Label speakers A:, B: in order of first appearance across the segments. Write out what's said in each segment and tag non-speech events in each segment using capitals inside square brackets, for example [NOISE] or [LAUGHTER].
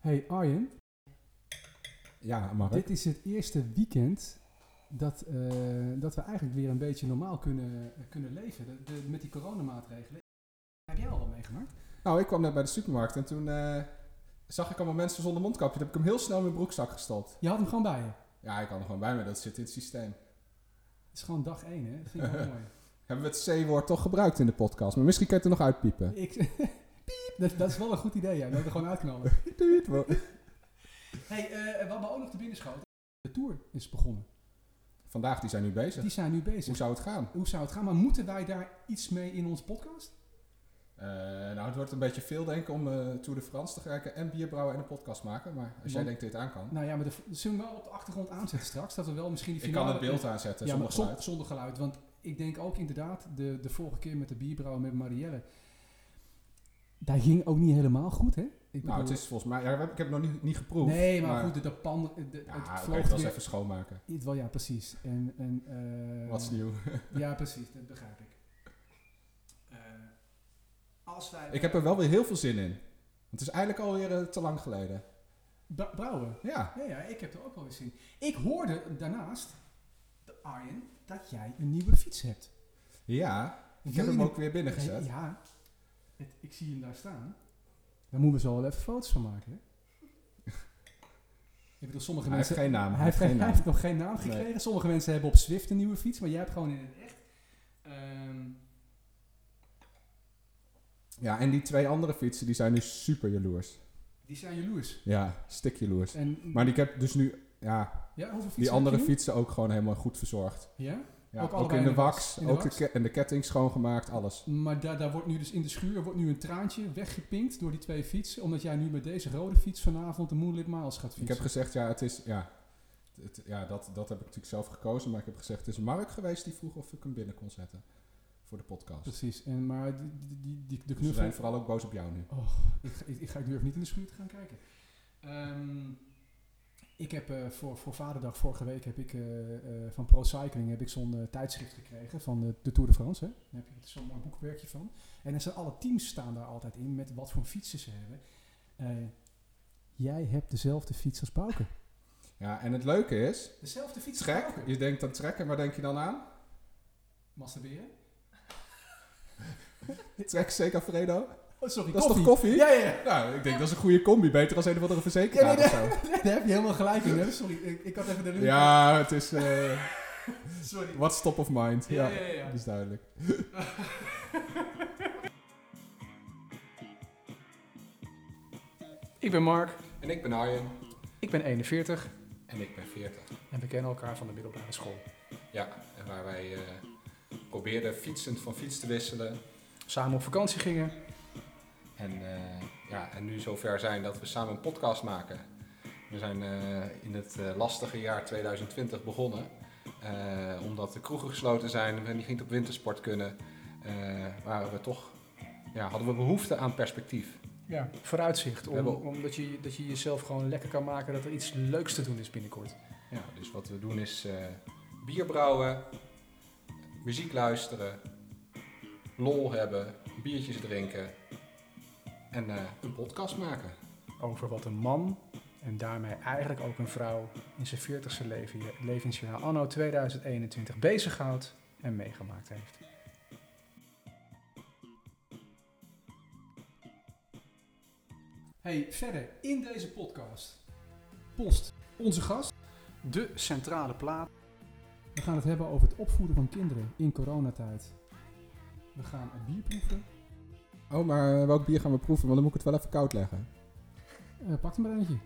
A: Hey Arjen,
B: Ja, mag ik?
A: dit is het eerste weekend dat, eh, dat we eigenlijk weer een beetje normaal kunnen, kunnen leven. De- de- met die coronamaatregelen. Heb jij al wat meegemaakt?
B: Nou, ik kwam net bij de supermarkt en toen eh, zag ik allemaal mensen zonder mondkapje. Toen heb ik hem heel snel in mijn broekzak gestopt.
A: Je had hem gewoon bij je.
B: Ja, ik kan er gewoon bij me, dat zit in het systeem.
A: Het is gewoon dag één, hè? Dat vind ik
B: [LAUGHS]
A: wel mooi.
B: Hebben we het C-woord toch gebruikt in de podcast, maar misschien kan je het er nog uitpiepen.
A: Ik, [LAUGHS] piep, dat, dat is wel een goed idee, ja. We hebben gewoon uitknallen.
B: Tuut, wo-
A: Hey, eh, wat me ook nog te binnen schoot. De tour is begonnen.
B: Vandaag, die zijn nu bezig.
A: Die zijn nu
B: Hoe
A: bezig.
B: zou het gaan?
A: Hoe zou het gaan? Maar moeten wij daar iets mee in onze podcast?
B: Eh, nou, het wordt een beetje veel denken om eh Tour de France te geraken en bier brouwen en een podcast maken. Maar als jij
A: Want-
B: denkt dat je het aan kan,
A: Nou ja, maar de, zullen we hem wel op de achtergrond aanzetten straks? Dat we wel misschien die
B: ik kan
A: finale...
B: het beeld aanzetten
A: ja,
B: zonder
A: maar zon-
B: geluid.
A: zonder geluid. Want ik denk ook inderdaad, de, de vorige keer met de bierbrouwer met Marielle. Daar ging ook niet helemaal goed, hè? Ik
B: Nou, het
A: bedoel-
B: is volgens mij, ja, we hebben- ik heb het nog niet, niet geproefd.
A: Nee, maar, goed, de, de pan... de- de-
B: Ja,
A: het
B: oké,
A: vloog
B: het was
A: weer...
B: even schoonmaken.
A: Iets wel, ja, precies. En, en, eh,
B: Wat is nieuw?
A: Ja, precies, dat begrijp ik. Eh, als wij...
B: Ik heb er wel weer heel veel zin in. Want het is eigenlijk alweer eh, te lang geleden.
A: Bra- Brouwen.
B: Ja.
A: Ja, ja, ik heb er ook wel eens zin in. Ik hoorde daarnaast, Arjen, dat jij een nieuwe fiets hebt.
B: Ja. Ik
A: Wil
B: heb
A: je
B: hem
A: die-
B: ook weer binnengezet.
A: Ja, Het- ik zie hem daar staan. Daar moeten we zo wel even foto's van maken. Hè? ik bedoel, sommige
B: Hij heeft
A: mensen.
B: geen naam.
A: hij, heeft, geen- hij
B: naam.
A: heeft nog geen naam
B: Nee.
A: gekregen. Sommige mensen hebben op Zwift een nieuwe fiets, maar jij hebt gewoon in het echt. Ehm,
B: Ja, en die twee andere fietsen die zijn nu super jaloers.
A: die zijn jaloers.
B: Ja, stik jaloers.
A: En,
B: Maar die ik heb dus nu, ja,
A: ja, hoeveel fietsen
B: die andere
A: heb je nu?
B: fietsen ook gewoon helemaal goed verzorgd.
A: Ja?
B: Ja,
A: Ook
B: ook,
A: allebei
B: in de wax,
A: in de
B: ook
A: wax.
B: De ke- en de ketting schoongemaakt, alles.
A: Maar daar, daar wordt nu dus in de schuur wordt nu een traantje weggepinkt door die twee fietsen. Omdat jij nu met deze rode fiets vanavond de Moonlit Miles gaat fietsen.
B: Ik heb gezegd, ja, het is, ja, het, ja dat, dat heb ik natuurlijk zelf gekozen. Maar ik heb gezegd, het is Mark geweest die vroeg of ik hem binnen kon zetten voor de podcast. Dus
A: Precies. En, maar die, die, die, die- de
B: we
A: knuffel...
B: zijn vooral ook boos op jou nu.
A: Oh, ik, ga- ik, ik, ga, ik durf niet in de schuur te gaan kijken. Ehm, ik heb eh, voor, voor Vaderdag vorige week heb ik, eh, eh, van Pro Cycling heb ik zo'n eh, tijdschrift gekregen van de, de Tour de France. Hè? Daar heb je zo'n mooi boekwerkje van. En er zijn alle teams staan daar altijd in met wat voor fietsen ze hebben. Eh, jij hebt dezelfde fiets als Bouke.
B: Ja, en het leuke is,
A: Dezelfde fiets als
B: Trek?
A: Bouke.
B: Je denkt aan trekken, waar denk je dan aan?
A: Masturberen?
B: Trek zeker Fredo?
A: Oh, sorry,
B: Dat is
A: koffie.
B: toch koffie?
A: Ja, ja, ja.
B: Nou, ik denk dat is een goede combi. Beter als een of andere verzekeraar
A: Ja,
B: of zo.
A: [LAUGHS] Daar heb je helemaal gelijk in. Hè? Sorry, ik, ik had even de ruimte.
B: Ja, het is eh
A: Sorry. Dus
B: wat top of mind. Ja,
A: ja, ja.
B: dat is duidelijk.
A: [LAUGHS] Ik ben Mark,
B: En ik ben Arjen.
A: ik ben 41
B: En ik ben 40.
A: en we kennen elkaar van de middelbare school.
B: Ja, en waar wij eh, probeerden fietsend van fiets te wisselen.
A: samen op vakantie gingen.
B: En, eh, ja, en nu zover zijn dat we samen een podcast maken. We zijn eh, in het eh, lastige jaar 2020 begonnen. Eh, omdat de kroegen gesloten zijn, we niet niet op wintersport kunnen, eh, waren we toch, ja, hadden we behoefte aan perspectief.
A: Ja, vooruitzicht. Om,
B: We hebben-
A: Omdat je, dat je jezelf gewoon lekker kan maken dat er iets leuks te doen is binnenkort.
B: Ja, dus wat we doen is eh, bier brouwen, muziek luisteren, lol hebben, biertjes drinken en eh, een podcast maken.
A: Over wat een man en daarmee eigenlijk ook een vrouw in zijn 40ste leven, levensjaar anno 2021 bezighoudt en meegemaakt heeft. Hey, verder in deze podcast. Post, onze gast, de centrale plaat. We gaan het hebben over het opvoeden van kinderen in coronatijd. We gaan een bier proeven.
B: Oh, maar welk bier gaan we proeven? Want dan moet ik het wel even koud leggen.
A: Eh, pak er maar eentje.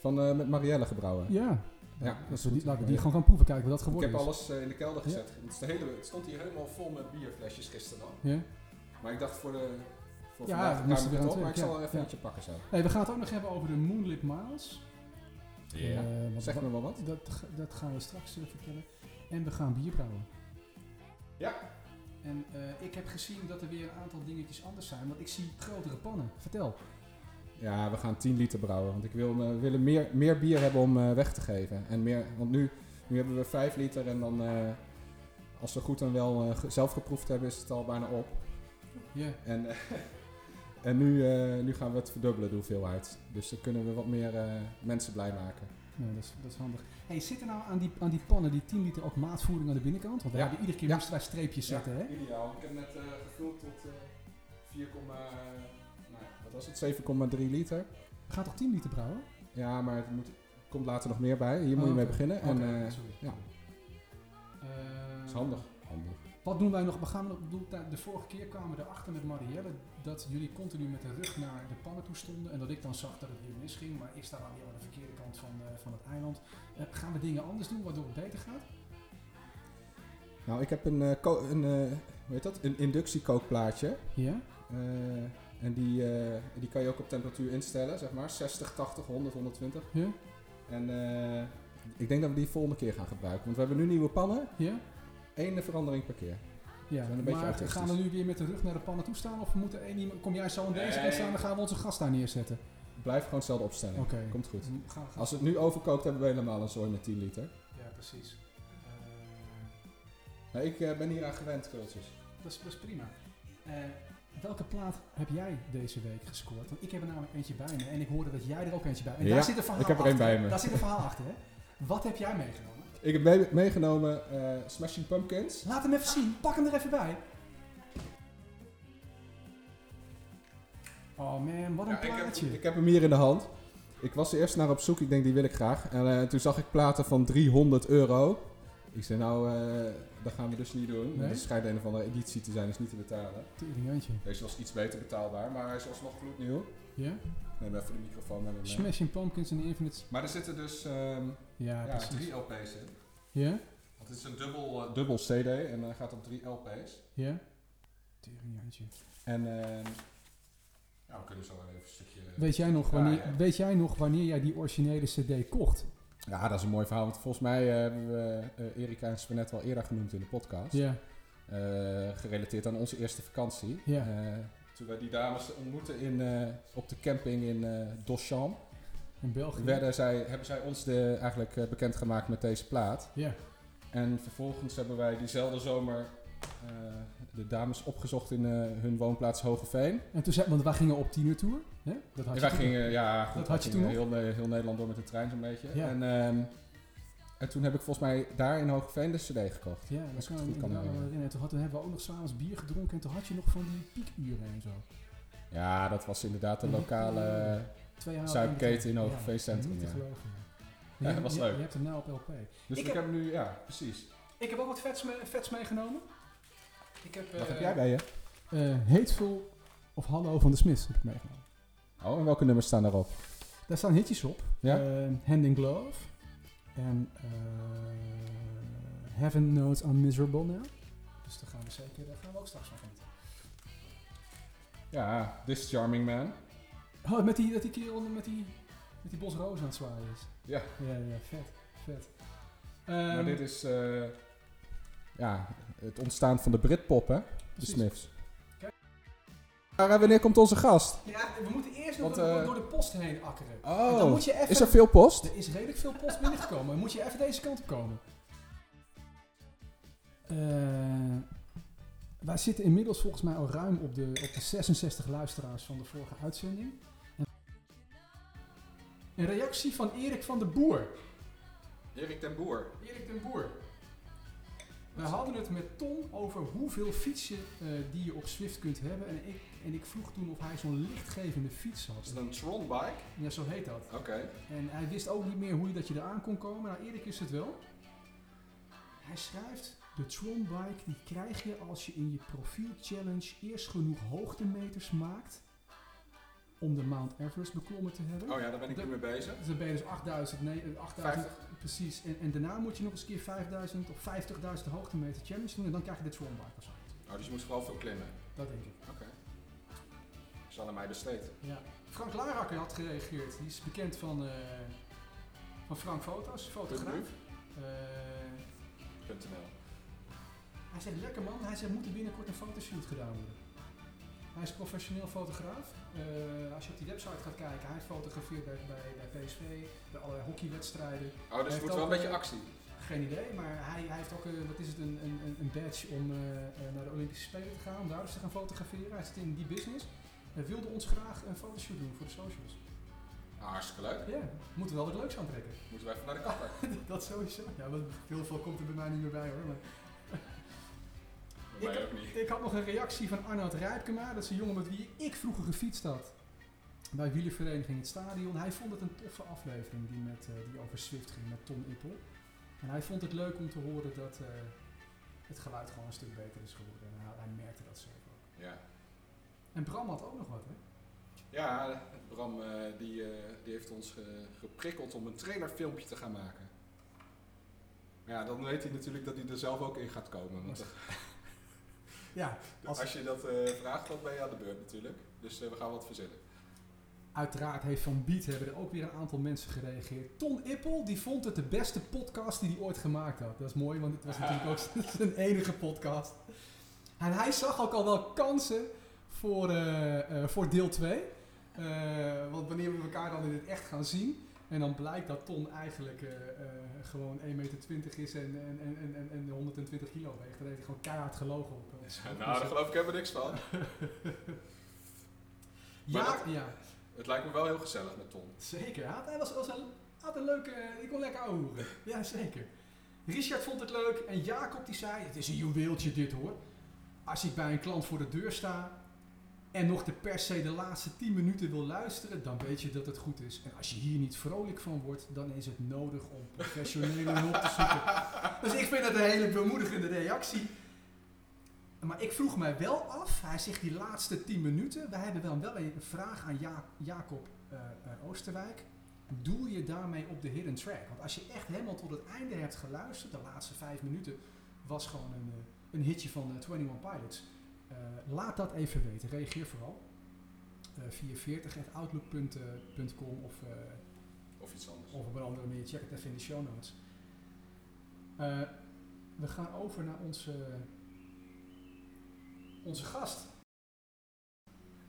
B: Van eh, met Marielle gebrouwen.
A: Ja. Nou,
B: Ja,
A: Laten
B: dat is
A: we die,
B: goed.
A: laten we die gewoon gaan proeven, kijken wat dat
B: Ik
A: geworden
B: heb
A: is.
B: alles eh, in de kelder gezet. Het, is de hele, het stond hier helemaal vol met bierflesjes gisteren dan.
A: Ja?
B: Maar ik dacht voor de... Voor
A: Ja,
B: vandaag
A: we
B: ruim
A: moesten
B: ik
A: weer
B: het
A: aan
B: op, maar ik
A: het werk,
B: zal er even
A: ja.
B: eentje pakken zo.
A: Hey, we gaan het ook nog hebben over de Moonlit Miles. Eh, want
B: Zeg
A: wat-
B: me wel wat.
A: dat, ga- dat gaan we straks eh, vertellen. En we gaan bier brouwen.
B: Ja.
A: En eh, ik heb gezien dat er weer een aantal dingetjes anders zijn, want ik zie grotere pannen. Vertel.
B: Ja, we gaan 10 liter brouwen. Want ik wil, eh, we willen meer, meer bier hebben om eh, weg te geven. En meer, want nu, nu hebben we 5 liter en dan... eh, als we goed en [LAUGHS] wel eh, ge- zelf geproefd hebben, is het al bijna op.
A: Ja.
B: En eh, En nu, eh, nu gaan we het verdubbelen, de hoeveelheid. Dus dan kunnen we wat meer eh, mensen blij maken.
A: Nou, dat, is, dat is handig. Hey, zitten nou aan die, aan die pannen, die 10 liter, ook maatvoering aan de binnenkant? Want we
B: Ja.
A: hebben iedere keer
B: Ja.
A: moesten wij streepjes zetten, hè?
B: Ideaal. Ik heb net eh, gevuld tot 4, eh, wat was het? 7,3 liter.
A: Gaat toch 10 liter brouwen?
B: Ja, maar het moet, er komt later nog meer bij. Hier
A: Oh,
B: moet je mee
A: oké.
B: beginnen. En,
A: Oké,
B: eh,
A: sorry.
B: ja.
A: Eh,
B: is handig. handig.
A: Wat doen wij nog? We gaan, ik bedoel, de vorige keer kwamen we erachter met Marielle dat jullie continu met de rug naar de pannen toe stonden. En dat ik dan zag dat het weer misging. Maar ik sta dan weer aan de verkeerde kant van, eh, van het eiland. Eh, gaan we dingen anders doen waardoor het beter gaat?
B: Nou, ik heb een, eh, ko- een, eh, hoe heet dat? een inductiekookplaatje.
A: Ja?
B: Eh, en die, eh, die kan je ook op temperatuur instellen, zeg maar. 60, 80, 100, 120.
A: Ja?
B: En eh, ik denk dat we die volgende keer gaan gebruiken. Want we hebben nu nieuwe pannen.
A: Ja?
B: Eén verandering per keer.
A: Ja,
B: Zijn een beetje
A: maar
B: autistisch.
A: gaan we nu weer met de rug naar de pannen toe staan? Of moeten één iemand, kom jij zo aan deze
C: Nee.
A: kant staan, dan gaan we onze gast daar neerzetten?
B: Blijf gewoon hetzelfde opstellen.
A: Oké.
B: Komt goed.
A: Gaan- gaan-
B: Als het nu overkookt, hebben we helemaal een zooi met 10 liter.
A: Ja, precies. Eh,
B: Nou, ik eh, ben hier aan gewend, kultjes.
A: dat, is, dat is prima. Eh, welke plaat heb jij deze week gescoord? Want ik heb er namelijk eentje bij me en ik hoorde dat jij er ook eentje bij En
B: Ja,
A: daar zit een verhaal
B: ik heb er één
A: achter.
B: bij me.
A: Daar zit een verhaal achter, hè? Wat heb jij meegenomen?
B: Ik heb mee- meegenomen eh, Smashing Pumpkins.
A: Laat hem even zien. Pak hem er even bij. Oh man, wat een
C: Ja, ik heb-
A: plaatje.
B: Ik heb hem hier in de hand. Ik was er eerst naar op zoek. Ik denk, die wil ik graag. En eh, toen zag ik platen van 300 euro. Ik zei, nou, eh, dat gaan we dus niet doen.
A: Nee?
B: Het schijnt een of andere editie te zijn, is niet te betalen.
A: Teringantje.
B: Deze was iets beter betaalbaar, maar hij is alsnog gloednieuw.
A: Ja?
B: Neem even de microfoon met me mee.
A: Smashing Pumpkins en Infinite...
B: Maar er zitten dus ehm,
A: Ja,
B: ja,
A: precies.
B: drie LP's in.
A: Ja?
B: Want het is een dubbel, eh, dubbel CD en hij gaat op drie LP's.
A: Ja? Teringantje.
B: En ehm, ja, we kunnen zo wel even een stukje.
A: Weet jij, nog
B: Ja,
A: wanneer,
B: ja.
A: weet jij nog wanneer jij die originele cd kocht?
B: Ja, dat is een mooi verhaal. Want volgens mij eh, hebben we eh, Erika en Sven al eerder genoemd in de podcast.
A: Ja.
B: Eh, gerelateerd aan onze eerste vakantie.
A: Ja.
B: Eh, toen wij die dames ontmoetten in, eh, op de camping in eh Docham,
A: In België.
B: werden zij, hebben zij ons de, eigenlijk eh, bekendgemaakt met deze plaat.
A: Ja.
B: En vervolgens hebben wij diezelfde zomer eh, de dames opgezocht in eh, hun woonplaats Hogeveen.
A: En toen zei, want wij gingen op tienertour. Hè? Dat had
B: En
A: je
B: wij
A: toen.
B: gingen, ja, goed,
A: Dat
B: wij
A: had je
B: gingen
A: toen
B: heel, Ne- heel Nederland door met de trein zo'n beetje.
A: Ja.
B: En, ehm, en toen heb ik volgens mij daar in Hogeveen de cd gekocht.
A: Ja, dat
B: Als
A: kan
B: ik het
A: ik
B: goed
A: inderdaad
B: kan
A: wel
B: herinneren.
A: herinneren. En toen, had, toen hebben we ook nog s'avonds bier gedronken. En toen had je nog van die piekuren en zo.
B: Ja, dat was inderdaad de
A: Ja.
B: lokale... eh,
A: Twee halen
B: Zuipketen in
A: Ja,
B: Hogeveen Centrum,
A: Niet te
B: ja.
A: geloven. ja.
B: Ja,
A: Je-
B: dat was
A: je-
B: leuk.
A: Je hebt hem nou op LP.
B: Dus
A: Ik
B: ik,
A: heb-
B: heb nu, ja, precies.
A: Ik heb ook wat vets, me- vets meegenomen. Ik heb,
B: Wat
A: eh,
B: heb jij bij je?
A: eh, Hateful of Hallo van de Smith heb ik meegenomen.
B: Oh, en welke nummers staan daarop?
A: Daar staan hitjes op.
B: Ja?
A: Eh, Hand in Glove. En eh, Heaven Knows I'm Miserable Now. Dus daar gaan we zeker, daar gaan we ook straks van genieten.
B: Ja, This Charming Man.
A: Oh, met die, dat die kerel met die, met die bosroos aan het zwaaien is.
B: Ja.
A: Ja, ja, vet, vet. Ehm,
B: maar dit is eh, ja, het ontstaan van de Britpop, hè? De Smiths.
A: Kijk.
B: Maar eh, wanneer komt onze gast?
A: Ja, we moeten eerst nog
B: Want,
A: door, de-
B: eh,
A: door de post heen akkeren. En dan
B: Oh,
A: moet je even...
B: is er veel post?
A: Er is redelijk veel post binnengekomen. Dan moet je even deze kant op komen. Eh, wij zitten inmiddels volgens mij al ruim op de, op de 66 luisteraars van de vorige uitzending. En- Een reactie van Erik van der Boer.
B: Erik ten Boer.
A: Erik den Boer. We hadden het met Tom over hoeveel fietsen eh, die je op Swift kunt hebben. En ik, en ik vroeg toen of hij zo'n lichtgevende fiets had.
B: een Tron bike?
A: Ja, zo heet dat.
B: Oké.
A: En hij wist ook niet meer hoe je dat je eraan kon komen. Nou, Erik is het wel. Hij schrijft, de Tron Bike die krijg je als je in je profiel challenge eerst genoeg hoogtemeters maakt om de Mount Everest beklommen te hebben.
B: Oh ja, daar ben
A: ik nu
B: mee bezig.
A: Dus dan ben je dus 8000, nee, eh, 8000 precies. En, en daarna moet je nog eens een keer 5000 of 50.000 hoogtemeter challenge doen en dan krijg je de Tron Bike of zo.
B: Oh, dus je moet vooral veel klimmen.
A: Dat denk ik.
B: Oké. Is aan mij
D: dus
B: besteed.
A: Ja. Frank Larakker had gereageerd. Die is bekend van, eh, van Frank Foto's, fotograaf. Eh,
D: Oh,
A: Hij zegt, lekker man, hij zegt, moet er binnenkort een fotoshoot gedaan worden. Hij is professioneel fotograaf. Eh, als je op die website gaat kijken, hij fotografeert bij, bij, bij PSV, bij allerlei hockeywedstrijden.
B: Oh, dus
A: Heeft
B: het wordt wel een
A: ook,
B: beetje
A: eh,
B: actie.
A: Geen idee, maar hij, hij heeft ook eh, wat is het, een, een, een- een badge om eh, eh, naar de Olympische Spelen te gaan, om daar dus te gaan fotograferen. Hij zit in die business. en wilde ons graag een fotoshoot doen voor de socials.
D: Nou, hartstikke leuk.
A: Ja, moeten we wel wat leuks aantrekken.
D: Moeten we even naar de [LAUGHS] kapper.
A: [LAUGHS] dat sowieso. Ja, want heel veel komt er bij mij niet meer bij hoor. Maar
D: Wij ook niet.
A: Ik had nog een reactie van Arnoud Rijpkema. Dat is een jongen met wie ik vroeger gefietst had. Bij wielervereniging Het Stadion. Hij vond het een toffe aflevering die, met, eh, die over Swift ging met Tom Ippel. En hij vond het leuk om te horen dat eh, het geluid gewoon een stuk beter is geworden. En hij, hij merkte dat zelf ook.
D: Ja.
A: En Bram had ook nog wat, hè?
D: Ja, Bram eh, die, eh, die heeft ons ge- geprikkeld om een trailerfilmpje te gaan maken. Maar ja, dan weet hij natuurlijk dat hij er zelf ook in gaat komen. Want
A: Ja,
D: [LAUGHS] als,
A: als-
D: je dat eh, vraagt, dan ben je aan de beurt natuurlijk. Dus eh, we gaan wat verzinnen.
A: Uiteraard heeft Van Biet hebben er ook weer een aantal mensen gereageerd. Ton Ippel die vond het de beste podcast die hij ooit gemaakt had. Dat is mooi, want het was
D: [LAUGHS]
A: natuurlijk ook [LAUGHS] zijn enige podcast. En hij zag ook al wel kansen voor, eh, eh, voor deel 2. Eh, want wanneer we elkaar dan in het echt gaan zien. En dan blijkt dat Ton eigenlijk eh, eh, gewoon 1,20 meter is en, en, en, en, en, en 120 kilo weegt. Daar heeft hij gewoon keihard gelogen op.
D: [LAUGHS] nou, daar geloof ik helemaal niks van.
A: ja,
D: Maar dat-
A: ja.
D: Het lijkt me wel heel gezellig met Tom.
A: Zeker, hij had, hij was, was een, had een leuke... Ik kon lekker ouwehoeren. Ja, zeker. Richard vond het leuk en Jacob die zei... Het is een juweeltje dit hoor. Als ik bij een klant voor de deur sta... en nog de per se de laatste 10 minuten wil luisteren... dan weet je dat het goed is. En als je hier niet vrolijk van wordt... dan is het nodig om professionele hulp te zoeken. [LAUGHS] Dus ik vind dat een hele bemoedigende reactie. Maar ik vroeg mij wel af, hij zegt die laatste 10 minuten. Wij hebben dan wel een vraag aan Ja- Jacob eh, eh, Oosterwijk. Doel je daarmee op de hidden track? Want als je echt helemaal tot het einde hebt geluisterd, de laatste 5 minuten was gewoon een, eh, een hitje van eh, 21 Pilots. Eh, laat dat even weten, reageer vooral. Eh 440.outlook.com eh, of eh,
D: Of iets anders.
A: of op een andere manier, check het even in de show notes. Eh, we gaan over naar onze, onze gast.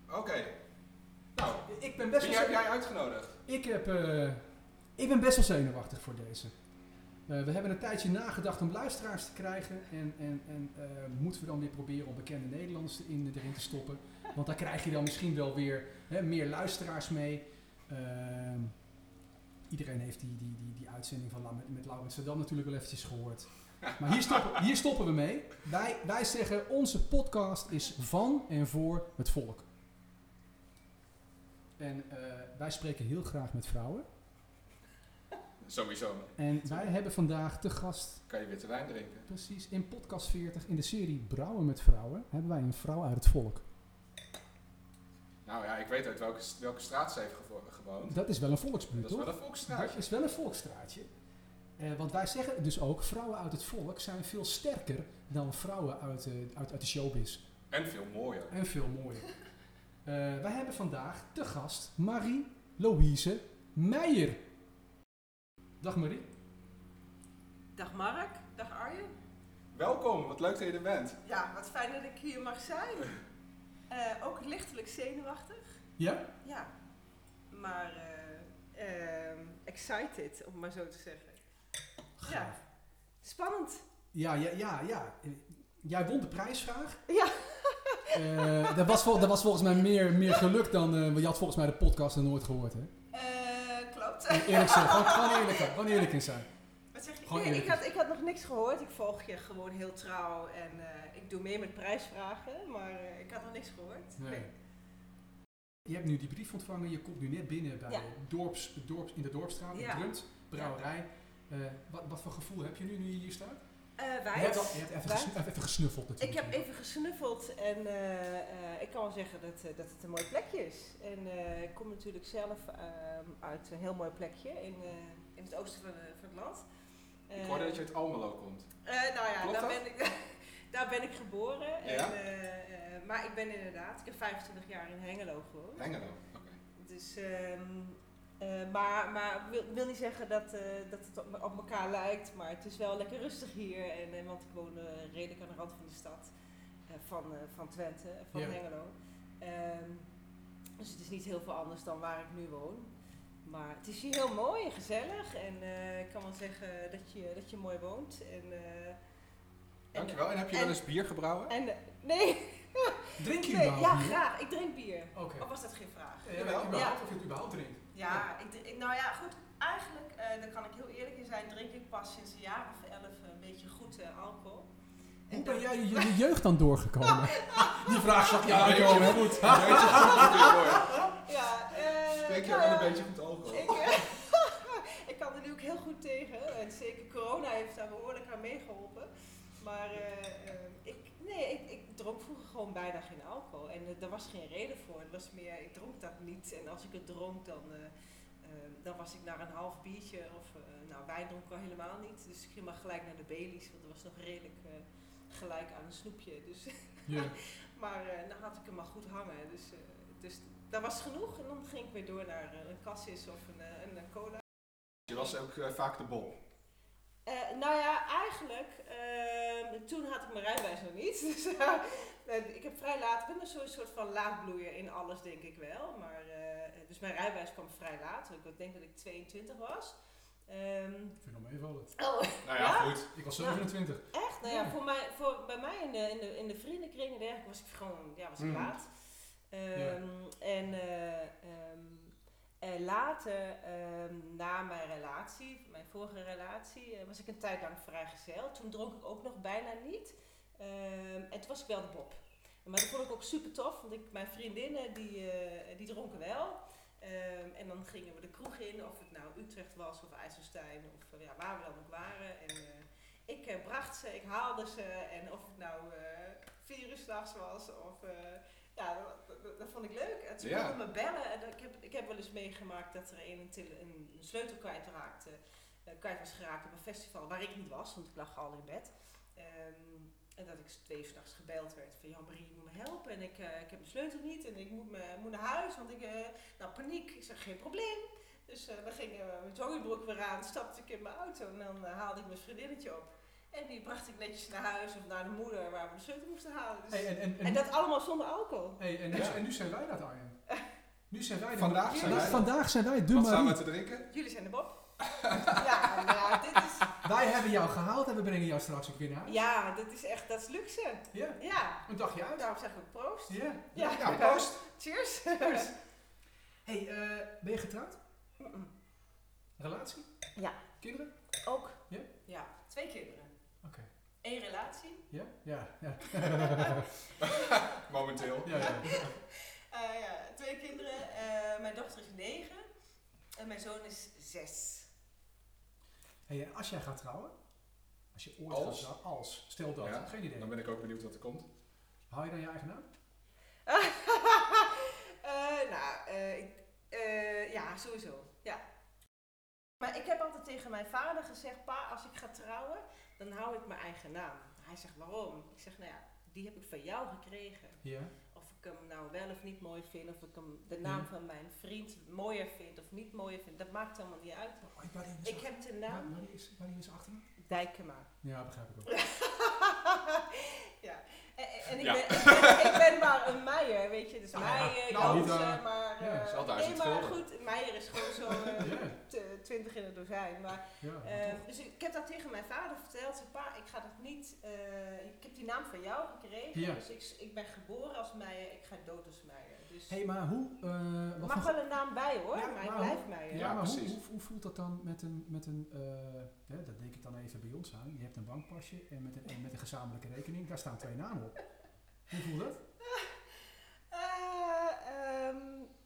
D: Oké, nou,
A: Ik ben best
D: wie
A: wel
D: heb jij
A: zenuwachtig.
D: uitgenodigd?
A: Ik, heb, eh, ik ben best wel zenuwachtig voor deze. Eh, we hebben een tijdje nagedacht om luisteraars te krijgen. En, en, en eh, moeten we dan weer proberen om bekende Nederlanders in, erin te stoppen. Want daar krijg je dan misschien wel weer hè, meer luisteraars mee. Ehm, iedereen heeft die, die, die, die uitzending van La- met, met Laurens Amsterdam natuurlijk wel eventjes gehoord. Maar hier stoppen, hier stoppen we mee. Wij, wij zeggen onze podcast is van en voor het volk. En eh, wij spreken heel graag met vrouwen.
D: Sowieso
A: En wij hebben vandaag te gast
D: kan je witte wijn drinken.
A: Precies, in podcast 40, in de serie Brouwen met Vrouwen, hebben wij een vrouw uit het volk.
D: Nou ja, ik weet uit welke, welke straat ze heeft gevo- gewoond.
A: Dat is wel een volksbuurt,
D: Dat is
A: toch?
D: wel een volksstraatje.
A: Dat is wel een volksstraatje. Eh, want wij zeggen dus ook, vrouwen uit het volk zijn veel sterker dan vrouwen uit, eh, uit, uit de showbiz.
D: En veel mooier.
A: En veel mooier. Eh, wij hebben vandaag te gast Marie-Louise Meijer. Dag Marie.
E: Dag Mark, dag Arjen.
D: Welkom, wat leuk dat je er bent.
E: Ja, wat fijn dat ik hier mag zijn. Eh, ook lichtelijk zenuwachtig,
A: Ja?
E: ja. Maar eh, ehm, excited, om het maar zo te zeggen.
A: Gaaf.
E: Spannend.
A: Ja, ja, ja, ja. Eh, Jij won de prijsvraag.
E: Ja.
A: Eh, dat, was vol- dat was volgens mij meer, meer geluk dan... eh, want je had volgens mij de podcast nog nooit gehoord, hè?
E: Eh, klopt.
A: Eerlijk zijn, gewoon, gewoon eerlijk zijn. Gewoon eerlijk in zijn.
E: [LAUGHS] Wat zeg je?
A: Gewoon
E: Nee, ik
A: eerlijk.
E: had, ik had nog niks gehoord. Ik volg je gewoon heel trouw en eh, ik doe mee met prijsvragen, maar eh, ik had nog niks gehoord.
A: Nee. Je hebt nu die brief ontvangen. Je komt nu net binnen bij
E: Ja.
A: dorps, dorps, in de Dorpstraat, in
E: Ja.
A: Drunt, brouwerij. Eh, wat, wat voor gevoel heb je nu, nu je hier staat?
E: Eh,
A: Je
E: wij.
A: hebt, al- je hebt even,
E: Wij-
A: gesnu- even gesnuffeld
E: Ik
A: natuurlijk.
E: heb even gesnuffeld en eh, eh, ik kan wel zeggen dat, eh, dat het een mooi plekje is. En eh, ik kom natuurlijk zelf ehm, uit een heel mooi plekje in, eh, in het oosten van, eh, van het land.
D: Ik hoorde dat je uit Almelo komt.
E: Eh, nou ja,
D: Klopt
E: daar
D: dat?
E: ben, ik, [LAUGHS] daar ben ik geboren.
D: Ja.
E: En, eh, eh, maar ik ben inderdaad, ik heb 25 jaar in Hengelo gewoond.
D: Hengelo, oké.
E: Dus, ehm, eh, maar maar wil, wil niet zeggen dat, eh, dat het op, op elkaar lijkt, maar het is wel lekker rustig hier. En, eh, want ik woon eh, redelijk aan de rand van de stad, eh, van, eh, van Twente, eh, van
A: Ja.
E: Hengelo. Ehm, dus het is niet heel veel anders dan waar ik nu woon. Maar het is hier heel mooi en gezellig. En eh, ik kan wel zeggen dat je, dat je mooi woont. En, eh, en- [LAUGHS]
D: Dankjewel. En heb je wel eens bier gebrouwen?
E: en, eh, nee, [LAUGHS]
A: Drink je
E: Nee,
A: überhaupt
E: ja,
A: bier?
E: graag. Ik drink bier.
A: Oké.
E: Of was dat geen vraag?
A: Ja, jawel, überhaupt, Of je het überhaupt drinkt.
E: Ja, ik, drink- ik- nou ja, goed. Eigenlijk, eh, daar kan ik heel eerlijk in zijn, drink ik pas sinds een jaar of elf een beetje goed eh, alcohol. En
A: Hoe
E: dat-
A: ben jij je, je jeugd dan doorgekomen? [LAUGHS] Die vraag zag je aankomen. hè?
F: goed. Een beetje goed natuurlijk, hoor.
E: Ja, eh,
F: Spreek je
E: nou
F: wel een
E: ja,
F: beetje goed alcohol.
E: Ik, eh, [LAUGHS] ik kan er nu ook heel goed tegen. En zeker corona heeft daar behoorlijk aan meegeholpen. Maar eh, eh, ik, nee, ik, ik dronk vroeger gewoon bijna geen alcohol. En eh, daar was geen reden voor. Het was meer, ik dronk dat niet. En als ik het dronk, dan, eh, eh, dan was ik naar een half biertje. Of, eh, nou, wijn dronk ik al helemaal niet. Dus ik ging maar gelijk naar de Baileys, want dat was nog redelijk eh, gelijk aan een snoepje. Dus
A: Ja.
E: maar eh, dan had ik hem al goed hangen. Dus, eh, dus dat was genoeg. En dan ging ik weer door naar eh, een cassis of een, eh, een, eh, cola.
B: Je was ook eh, vaak de bol.
E: Eh, nou ja, eigenlijk, ehm, toen had ik mijn rijbewijs nog niet. [LAUGHS] Dus eh, ik heb vrij laat, ik ben nog zo'n soort van laadbloeier in alles, denk ik wel. Maar, eh, dus mijn rijbewijs kwam vrij laat. Ik denk dat ik 22 was. Ehm,
A: Ik vind hem meevallen.
E: oh,
B: Nou ja,
E: Ja?
B: goed.
A: Ik was 27.
E: Echt? Nou ja,
A: Ja.
E: Voor mij, voor, bij mij in de, in de, in de vriendenkring en dergelijke was ik gewoon ja, was ik
B: Mm.
E: laat. Ehm, En eh, ehm, en later, ehm, na mijn relatie, mijn vorige relatie, eh, was ik een tijd lang vrijgezel. Toen dronk ik ook nog bijna niet. Ehm, en toen was ik wel de Bob. Maar dat vond ik ook super tof, want ik, mijn vriendinnen die, eh, die dronken wel. Ehm, en dan gingen we de kroeg in, of het nou Utrecht was of IJsselstein, of eh, ja, waar we dan ook waren. En eh, ik eh, bracht ze, ik haalde ze. En of het nou eh virusnachts was of... eh, ja, dat, dat- dat vond ik leuk. En ze
B: Ja.
E: konden me bellen. En dat- ik, heb, ik heb wel eens meegemaakt dat er een, een, tele- een sleutel kwijtraakte, eh, kwijt was geraakt op een festival waar ik niet was, want ik lag al in bed. Ehm, en dat ik s- twee uur s'nachts gebeld werd van Jan Marie, je moet me helpen. En ik, eh, ik heb mijn sleutel niet en ik moet, me, moet naar huis, want ik... eh, nou, paniek. Ik zeg, geen probleem. Dus eh, we gingen eh, mijn joggingbroek weer aan, stapte ik in mijn auto en dan eh, haalde ik mijn vriendinnetje op. En die bracht ik netjes naar huis of naar de moeder waar we de sleutel moesten halen. Dus-
A: Hey, en, en, en,
E: en dat allemaal zonder alcohol.
A: hey, en, nu-
B: Ja.
A: en nu zijn wij dat, [LAUGHS] Arjen. Nu zijn wij de
B: Vandaag zijn wij dat.
A: Vandaag zijn wij de
B: Wat staan we
A: Marie.
B: te drinken?
E: Jullie zijn de
A: [LAUGHS]
E: Bob. ja, maar ja, dit is,
A: Wij hebben jou gehaald en we brengen jou straks ook weer naar huis.
E: ja, dit is echt, dat is luxe.
A: Ja.
E: Ja,
A: Een dagje uit.
E: daarom zeg ik ook proost.
A: Ja.
E: Ja,
A: [LAUGHS]
B: Ja, proost.
E: Cheers. [LAUGHS]
A: Hey, eh, ben je getrouwd?
E: Mm-mm.
A: Relatie?
E: Ja.
A: Kinderen?
E: Ook.
A: Ja?
E: ja, twee kinderen.
A: Oké.
E: Eén relatie.
A: Ja? Ja. Ja.
B: Momenteel.
A: ja, ja.
E: Eh, ja, twee kinderen. Eh, mijn dochter is negen. En mijn zoon is zes. [LAUGHS]
A: Hey, en als jij gaat trouwen, als je ooit
B: Als?
A: gaat trouwen, als, stel dat,
B: Ja.
A: geen idee.
B: Dan ben ik ook benieuwd wat er komt.
A: Haal je dan je eigen naam?
E: Eh, nou, eh, ik- eh, ja, sowieso. Ja. Maar ik heb altijd tegen mijn vader gezegd: Pa, als ik ga trouwen, dan hou ik mijn eigen naam. Hij zegt: Waarom? Ik zeg: Nou ja, die heb ik van jou gekregen.
A: Ja.
E: Of ik hem nou wel of niet mooi vind, of ik hem de naam
A: Ja.
E: van mijn vriend mooier vind of niet mooier vind, dat maakt allemaal niet uit.
A: Oh, wanneer is
E: Ik heb de naam
A: Wa- wanneer is, wanneer is zijn achternaam?
E: Dijkema.
A: [LAUGHS] Ja, begrijp ik ook.
E: ja. En, en- en ik,
B: Ja.
E: ben, ik, ben, ik ben maar een Meijer, weet je. Dus
A: Ah,
E: Meijer,
A: nou,
E: Jansen,
A: eh,
E: maar...
A: ja,
E: eh,
B: is al duizend
E: nee, maar
B: gulden.
E: goed, Meijer is gewoon
A: [LAUGHS]
E: zo eh,
A: Ja.
E: t- twintig in het dozijn. Maar,
A: Ja,
E: [LAUGHS] eh,
A: toch.
E: dus ik, ik heb dat tegen mijn vader verteld. Ik zei, pa, ik ga dat niet... eh, ik heb die naam van jou gekregen.
A: Ja.
E: Dus ik, ik ben geboren als Meijer, ik ga dood als Meijer. Dus
A: hey, maar hoe... eh,
E: er
A: wat
E: mag
A: voor-
E: wel een naam bij hoor,
A: Ja,
E: maar ik
A: maar
E: blijf
A: hoe-
E: Meijer.
A: ja,
B: Ja,
A: maar hoe,
B: precies.
A: hoe, hoe voelt dat dan met een... Met een eh, hè, dat denk ik dan even bij ons aan. Je hebt een bankpasje en met een, en met een gezamenlijke rekening. Daar staan twee namen op. Hoe voelt dat?
E: Eh, ehm,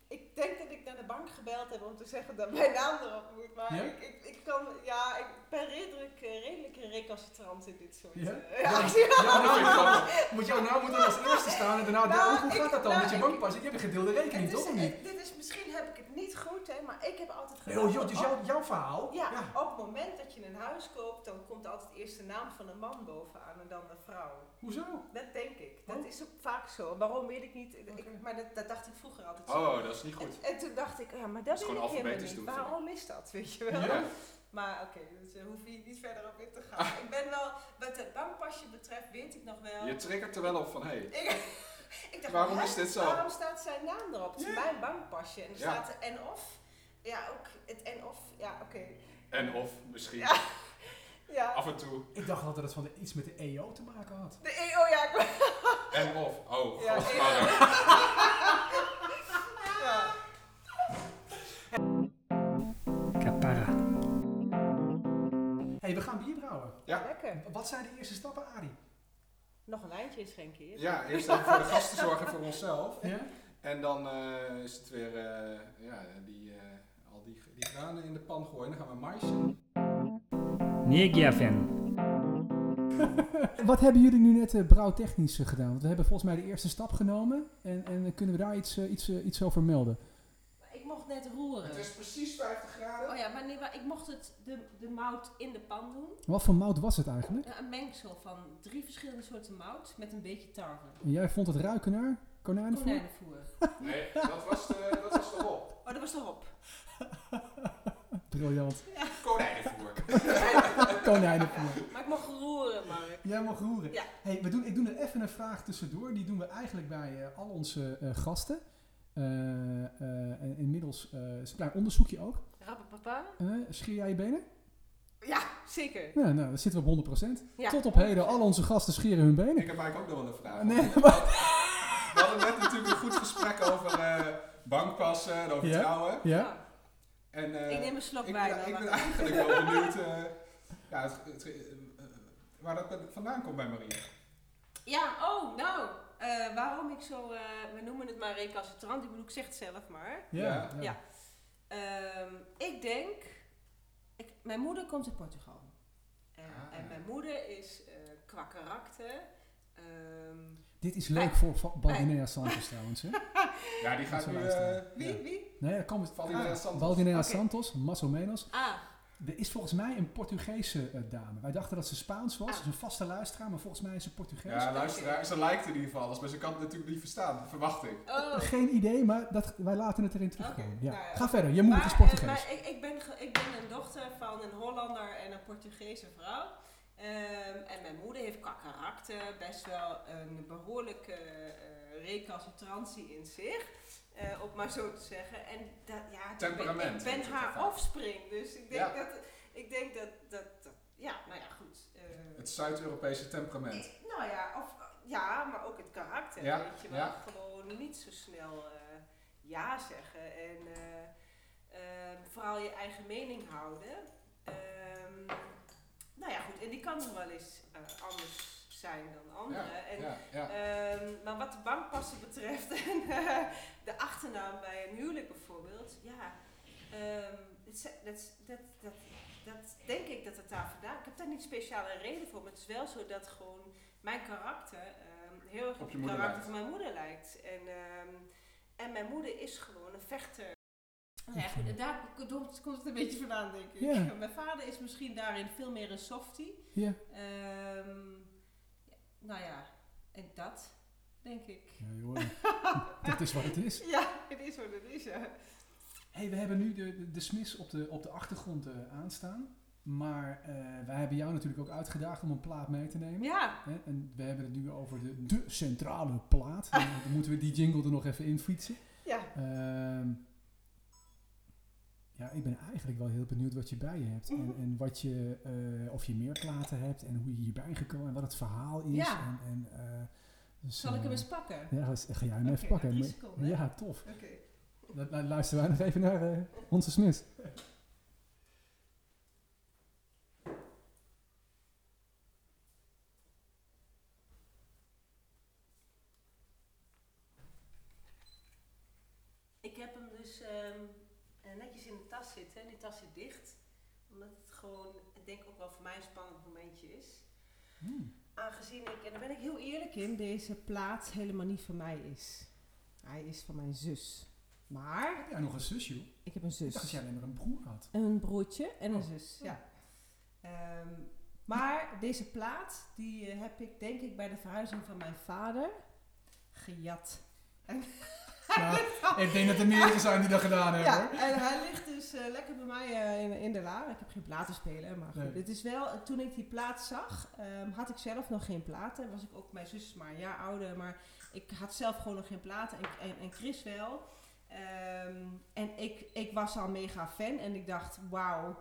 E: ik denk dat ik naar de bank gebeld heb om te zeggen dat mijn naam erop moet. Maar
A: Ja?
E: ik, ik, ik kan, ja, ik ben redelijk, eh, redelijk een recalcitrant in dit soort.
A: Ja?
E: eh, [LAUGHS]
A: Ja,
E: acties.
A: Jouw naam moet, jouw naam moet dan als eerste staan en daarna...
E: Nou,
A: hoe
E: ik-
A: gaat dat dan
E: nou,
A: met je
E: ik-
A: bankpasje? Je hebt een gedeelde rekening,
E: Het is-
A: toch? of niet?
E: eh, dit is, misschien heb ik het niet goed, hè, maar ik heb altijd
A: Oh, joh,
E: dat
A: dus
E: op-
A: jouw, jouw verhaal?
E: ja, op het moment dat je een huis koopt, dan komt altijd eerst de naam van een man bovenaan en dan de vrouw.
A: Hoezo?
E: Dat denk ik. Dat
A: Oh.
E: is ook vaak zo. Waarom weet ik niet. Ik-
A: Oké.
E: maar dat, dat dacht ik vroeger altijd zo.
B: [LAUGHS] Oh, dat is niet goed.
E: En, en toen dacht ik, ja, maar
B: Dat
E: dat
B: is
E: weet ik
B: gewoon
E: helemaal
B: alfabetisch
E: niet.
B: doen, vind ik.
E: Waarom is dat, [LAUGHS] weet je wel?
B: Ja.
E: Maar oké, dus daar hoef je niet verder op in te
B: Ah.
E: gaan. ik ben wel, wat het bankpasje betreft, weet ik nog wel.
B: Je triggert er wel op van, hé, hey,
E: Ik, [LAUGHS] ik
B: [LAUGHS]
E: dacht,
B: Waarom
E: hè?
B: is dit zo?
E: Waarom staat zijn naam erop? Het is
B: Ja.
E: mijn bankpasje. En er
B: Ja.
E: staat en of. Ja, ook het en of. Ja, oké.
B: en of misschien
E: Ja. Ja.
B: af en toe.
A: Ik dacht altijd dat het van de, iets met de EO te E maken had.
E: De EO, E, oh ja. ik-
D: En of. Oh,
E: Ja,
D: godverdomme.
B: Ah.
E: Ja.
A: Capara. hey, we gaan bier brouwen.
E: Lekker.
A: Wat zijn de eerste stappen, Arie?
E: Nog een lijntje is geen keer.
B: Ja,
E: [LAUGHS]
B: eerst even voor de gasten zorgen voor onszelf.
A: Ja?
B: En dan eh, is het weer eh, ja, die, eh, al die, die granen in de pan gooien. Dan gaan we mais in.
G: Negiaven.
A: [LAUGHS] Wat hebben jullie nu net eh, brouwtechnisch eh, gedaan? Want we hebben volgens mij de eerste stap genomen. En, en eh, kunnen we daar iets, eh, iets, eh, iets over melden?
E: Ik mocht net roeren.
B: Het is precies 50 graden.
E: Oh ja, maar nee, maar ik mocht het de, de mout in de pan doen.
A: Wat voor mout was het eigenlijk?
E: Ja, Een mengsel van drie verschillende soorten mout met een beetje tarwe.
A: En jij vond het ruiken naar konijnenvoer?
E: Konijnenvoer.
B: Nee, dat was de, dat was de hop.
E: Oh, dat was de
B: [LAUGHS]
E: hop.
A: Briljant. [LAUGHS]
B: Konijnenvoer.
A: konijnenvoer.
E: Maar ik mocht roeren, Mark.
A: Jij mag roeren.
E: Ja.
A: Hey, we doen, ik doe er even een vraag tussendoor. Die doen we eigenlijk bij eh, al onze eh, gasten. Eh, eh, en inmiddels eh, is een klein onderzoekje ook.
E: Rappapapa.
A: Eh scheer jij je benen?
E: Ja, zeker.
A: Nou, nou, dan zitten we op 100%.
E: Ja.
A: Tot op heden, al onze gasten scheren hun benen.
B: Ik heb eigenlijk ook nog wel een vraag.
A: Nee,
B: [LAUGHS] We hadden net natuurlijk een goed gesprek over eh, bankpassen en over
A: Ja.
B: trouwen.
A: Ja?
B: En, eh,
E: ik neem een slok
B: ik ben-
E: wijn.
B: ik ben
E: maar-
B: eigenlijk wel benieuwd eh, ja, het- het- eh, waar dat vandaan komt bij Maria.
E: Ja, oh, nou. eh, waarom ik zo, eh, we noemen het maar recalcitrant, ik bedoel, ik zeg het zelf maar.
A: Ja.
B: Ja.
E: Ja. Ehm, ik denk, ik, mijn moeder komt uit Portugal. Eh,
B: Ah.
E: En mijn moeder is eh, qua karakter. ehm,
A: Dit is leuk voor Va- Baldinea Santos trouwens.
E: [LAUGHS]
A: Hè?
B: Ja, die gaat
A: Zo
B: nu...
A: luisteren.
B: eh,
E: wie, wie?
A: Nee, daar komt
B: Baldinea Santos.
A: Baldinea
E: Oké.
A: Santos, más o menos.
E: Ah,
A: Er is volgens mij een Portugese eh, dame. Wij dachten dat ze Spaans was.
E: Ah.
A: Ze is een vaste luisteraar, maar volgens mij is ze Portugees.
B: ja, luisteraar, ze lijkt in ieder geval alles, maar ze kan het natuurlijk niet verstaan, verwacht ik.
E: oh.
A: Geen idee, maar dat, wij laten het erin terugkomen.
E: Oké,
A: ja.
E: nou ja.
A: Ga verder, je moeder is
E: eh,
A: Portugees.
E: maar ik, ik, ben, ge- ik ben een dochter van een Hollander en een Portugese vrouw. Ehm, en mijn moeder heeft qua karakter best wel een behoorlijke eh, recalcitrantie in zich. eh, om maar zo te zeggen. En dat, ja, ik ben-
B: Temperament
E: Ik ben,
B: heet het
E: haar
B: ervan.
E: offspring. Dus ik denk
B: Ja.
E: dat. Ik denk dat, dat, dat- Ja, nou ja, goed. eh,
B: Het Zuid-Europese temperament.
E: ik- nou ja, of, ja, maar ook het karakter.
B: Ja,
E: Weet je wel,
B: ja.
E: gewoon niet zo snel eh, ja zeggen en eh, ehm, vooral je eigen mening houden. Ehm, nou ja, goed, en die kan nog wel eens eh, anders zijn dan anderen. en,
B: Ja, ja.
E: ehm, maar wat de bankpassen betreft [LAUGHS] en eh, de achternaam bij een huwelijk bijvoorbeeld, ja, ehm, het zijn- dat, is- dat, dat, dat denk ik dat het daar vandaan. Ik heb daar niet speciaal een reden voor, maar het is wel zo dat gewoon mijn karakter ehm, heel erg
B: Op
E: op
B: je
E: het
B: moeder
E: karakter
B: lijkt.
E: van mijn moeder lijkt. En, ehm, en mijn moeder is gewoon een vechter. Nou ja, goed, en daar komt komt het een beetje vandaan, denk ik.
A: Ja.
E: Mijn vader is misschien daarin veel meer een softie.
A: Ja.
E: Ehm, ja, nou ja, en dat, denk ik.
A: Ja, joh.
E: [LAUGHS]
A: dat is wat het is.
E: Ja, het is wat het is, ja.
A: Hey, we hebben nu de, de, de smis op de, op de achtergrond eh, aanstaan. Maar eh, wij hebben jou natuurlijk ook uitgedaagd om een plaat mee te nemen.
E: Ja,
A: Hè, En we hebben het nu over de, de centrale plaat. En Dan moeten we die jingle er nog even in fietsen.
E: ja.
A: Ehm, ja, ik ben eigenlijk wel heel benieuwd wat je bij je hebt. En, en wat je, eh, of je meer platen hebt en hoe je hierbij gekomen en wat het verhaal is.
E: Ja.
A: En, en, eh, dus,
E: Zal ik hem
A: eh,
E: eens pakken?
A: Ja, ga- ga jij hem
E: Oké,
A: even pakken.
E: drie
A: Maar-
E: seconden, hè?
A: ja, tof.
E: Oké.
A: Dan dan luisteren wij nog even naar eh, onze Smith.
E: Ik heb hem dus ehm, eh, netjes in de tas zitten en die tas zit dicht. Omdat het gewoon, ik denk ook wel voor mij een spannend momentje is.
A: Hmm.
E: Aangezien ik, en daar ben ik heel eerlijk in, deze plaat helemaal niet van mij is. Hij is van mijn zus. Maar
A: Ah, Heb jij nog een zusje? joh?
E: ik heb een
A: Ik dacht
E: zus.
A: dat jij alleen maar een broer had.
E: Een broertje en een zus, Oh, ja. Ehm, maar deze plaat, die eh, heb ik denk ik bij de verhuizing van mijn vader gejat. [LAUGHS]
A: Nou, ik denk dat er meerdere zijn die dat gedaan hebben.
E: Ja,
A: hoor.
E: en hij ligt dus eh, lekker bij mij eh, in, in de la. Ik heb geen platenspeler, maar goed.
A: Nee.
E: Het is wel, eh, toen ik die plaat zag, ehm, had ik zelf nog geen platen. Was ik ook, mijn zus is maar een jaar ouder, maar ik had zelf gewoon nog geen platen. En, en, en Chris wel. Ehm, en ik, ik was al mega fan en ik dacht, wauw.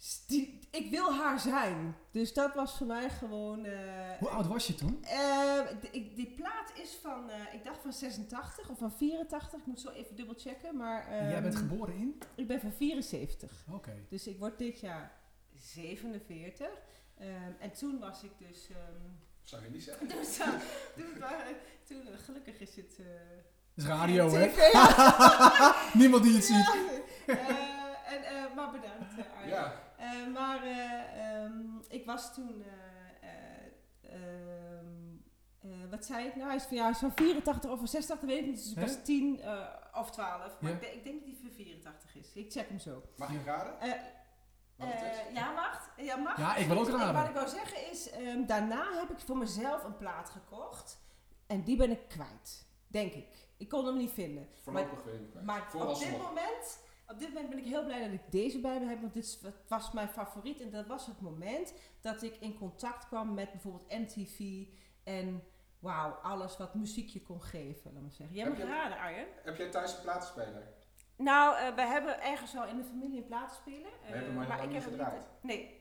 E: s- die- ik wil haar zijn. Dus dat was voor mij gewoon... eh,
A: Hoe oud was je toen?
E: eh, d- ik- die plaat is van, eh, ik dacht van 86 of van 84. Ik moet zo even dubbel checken. Maar,
A: En jij
E: ehm,
A: bent geboren in?
E: Ik ben van 74.
A: Oké.
E: Dus ik word dit jaar 47. Ehm, en toen was ik dus... ehm, [LAUGHS]
B: Zou je niet zeggen?
E: toen, za- toen, waren- toen, eh, gelukkig is het... eh,
A: Dat is radio, hè?
E: TV. [LAUGHS]
A: Niemand die het
E: Ja.
A: ziet.
E: Eh, en, eh, maar bedankt, eh, Arjen.
B: Ja,
E: Eh, maar eh, ehm, ik was toen. eh, eh, ehm, eh, wat zei ik nou? Hij is van, ja, hij is van 84 of van 86, weet ik niet. Dus ik
A: Hè?
E: was 10 eh, of 12. Maar
A: Ja.
E: ik, denk- ik denk dat hij van 84 is. Ik check hem zo.
B: mag je raden?
E: Eh,
B: Wat het is?
E: eh, ja, wacht. Ja, mag.
A: Ja, ik wil ook raden.
E: Wat ik wou zeggen is, ehm, daarna heb ik voor mezelf een plaat gekocht. En die ben ik kwijt. Denk ik. Ik kon hem niet vinden.
B: Voorlopig weer niet kwijt.
E: Maar op dit,
B: Vooralsnog.
E: moment, op dit moment ben ik heel blij dat ik deze bij me heb. Want dit is- het was mijn favoriet. En dat was het moment dat ik in contact kwam met bijvoorbeeld MTV. En wauw, alles wat muziek je kon geven. Laat maar zeggen. Jij
B: Heb
E: mag
B: je-
E: raden, Arjen.
B: Heb jij thuis een platenspeler?
E: Nou, eh, we hebben ergens al in de familie een platenspeler. eh,
B: hebben hem maar lang niet
E: hem
B: gedraaid.
E: Nee.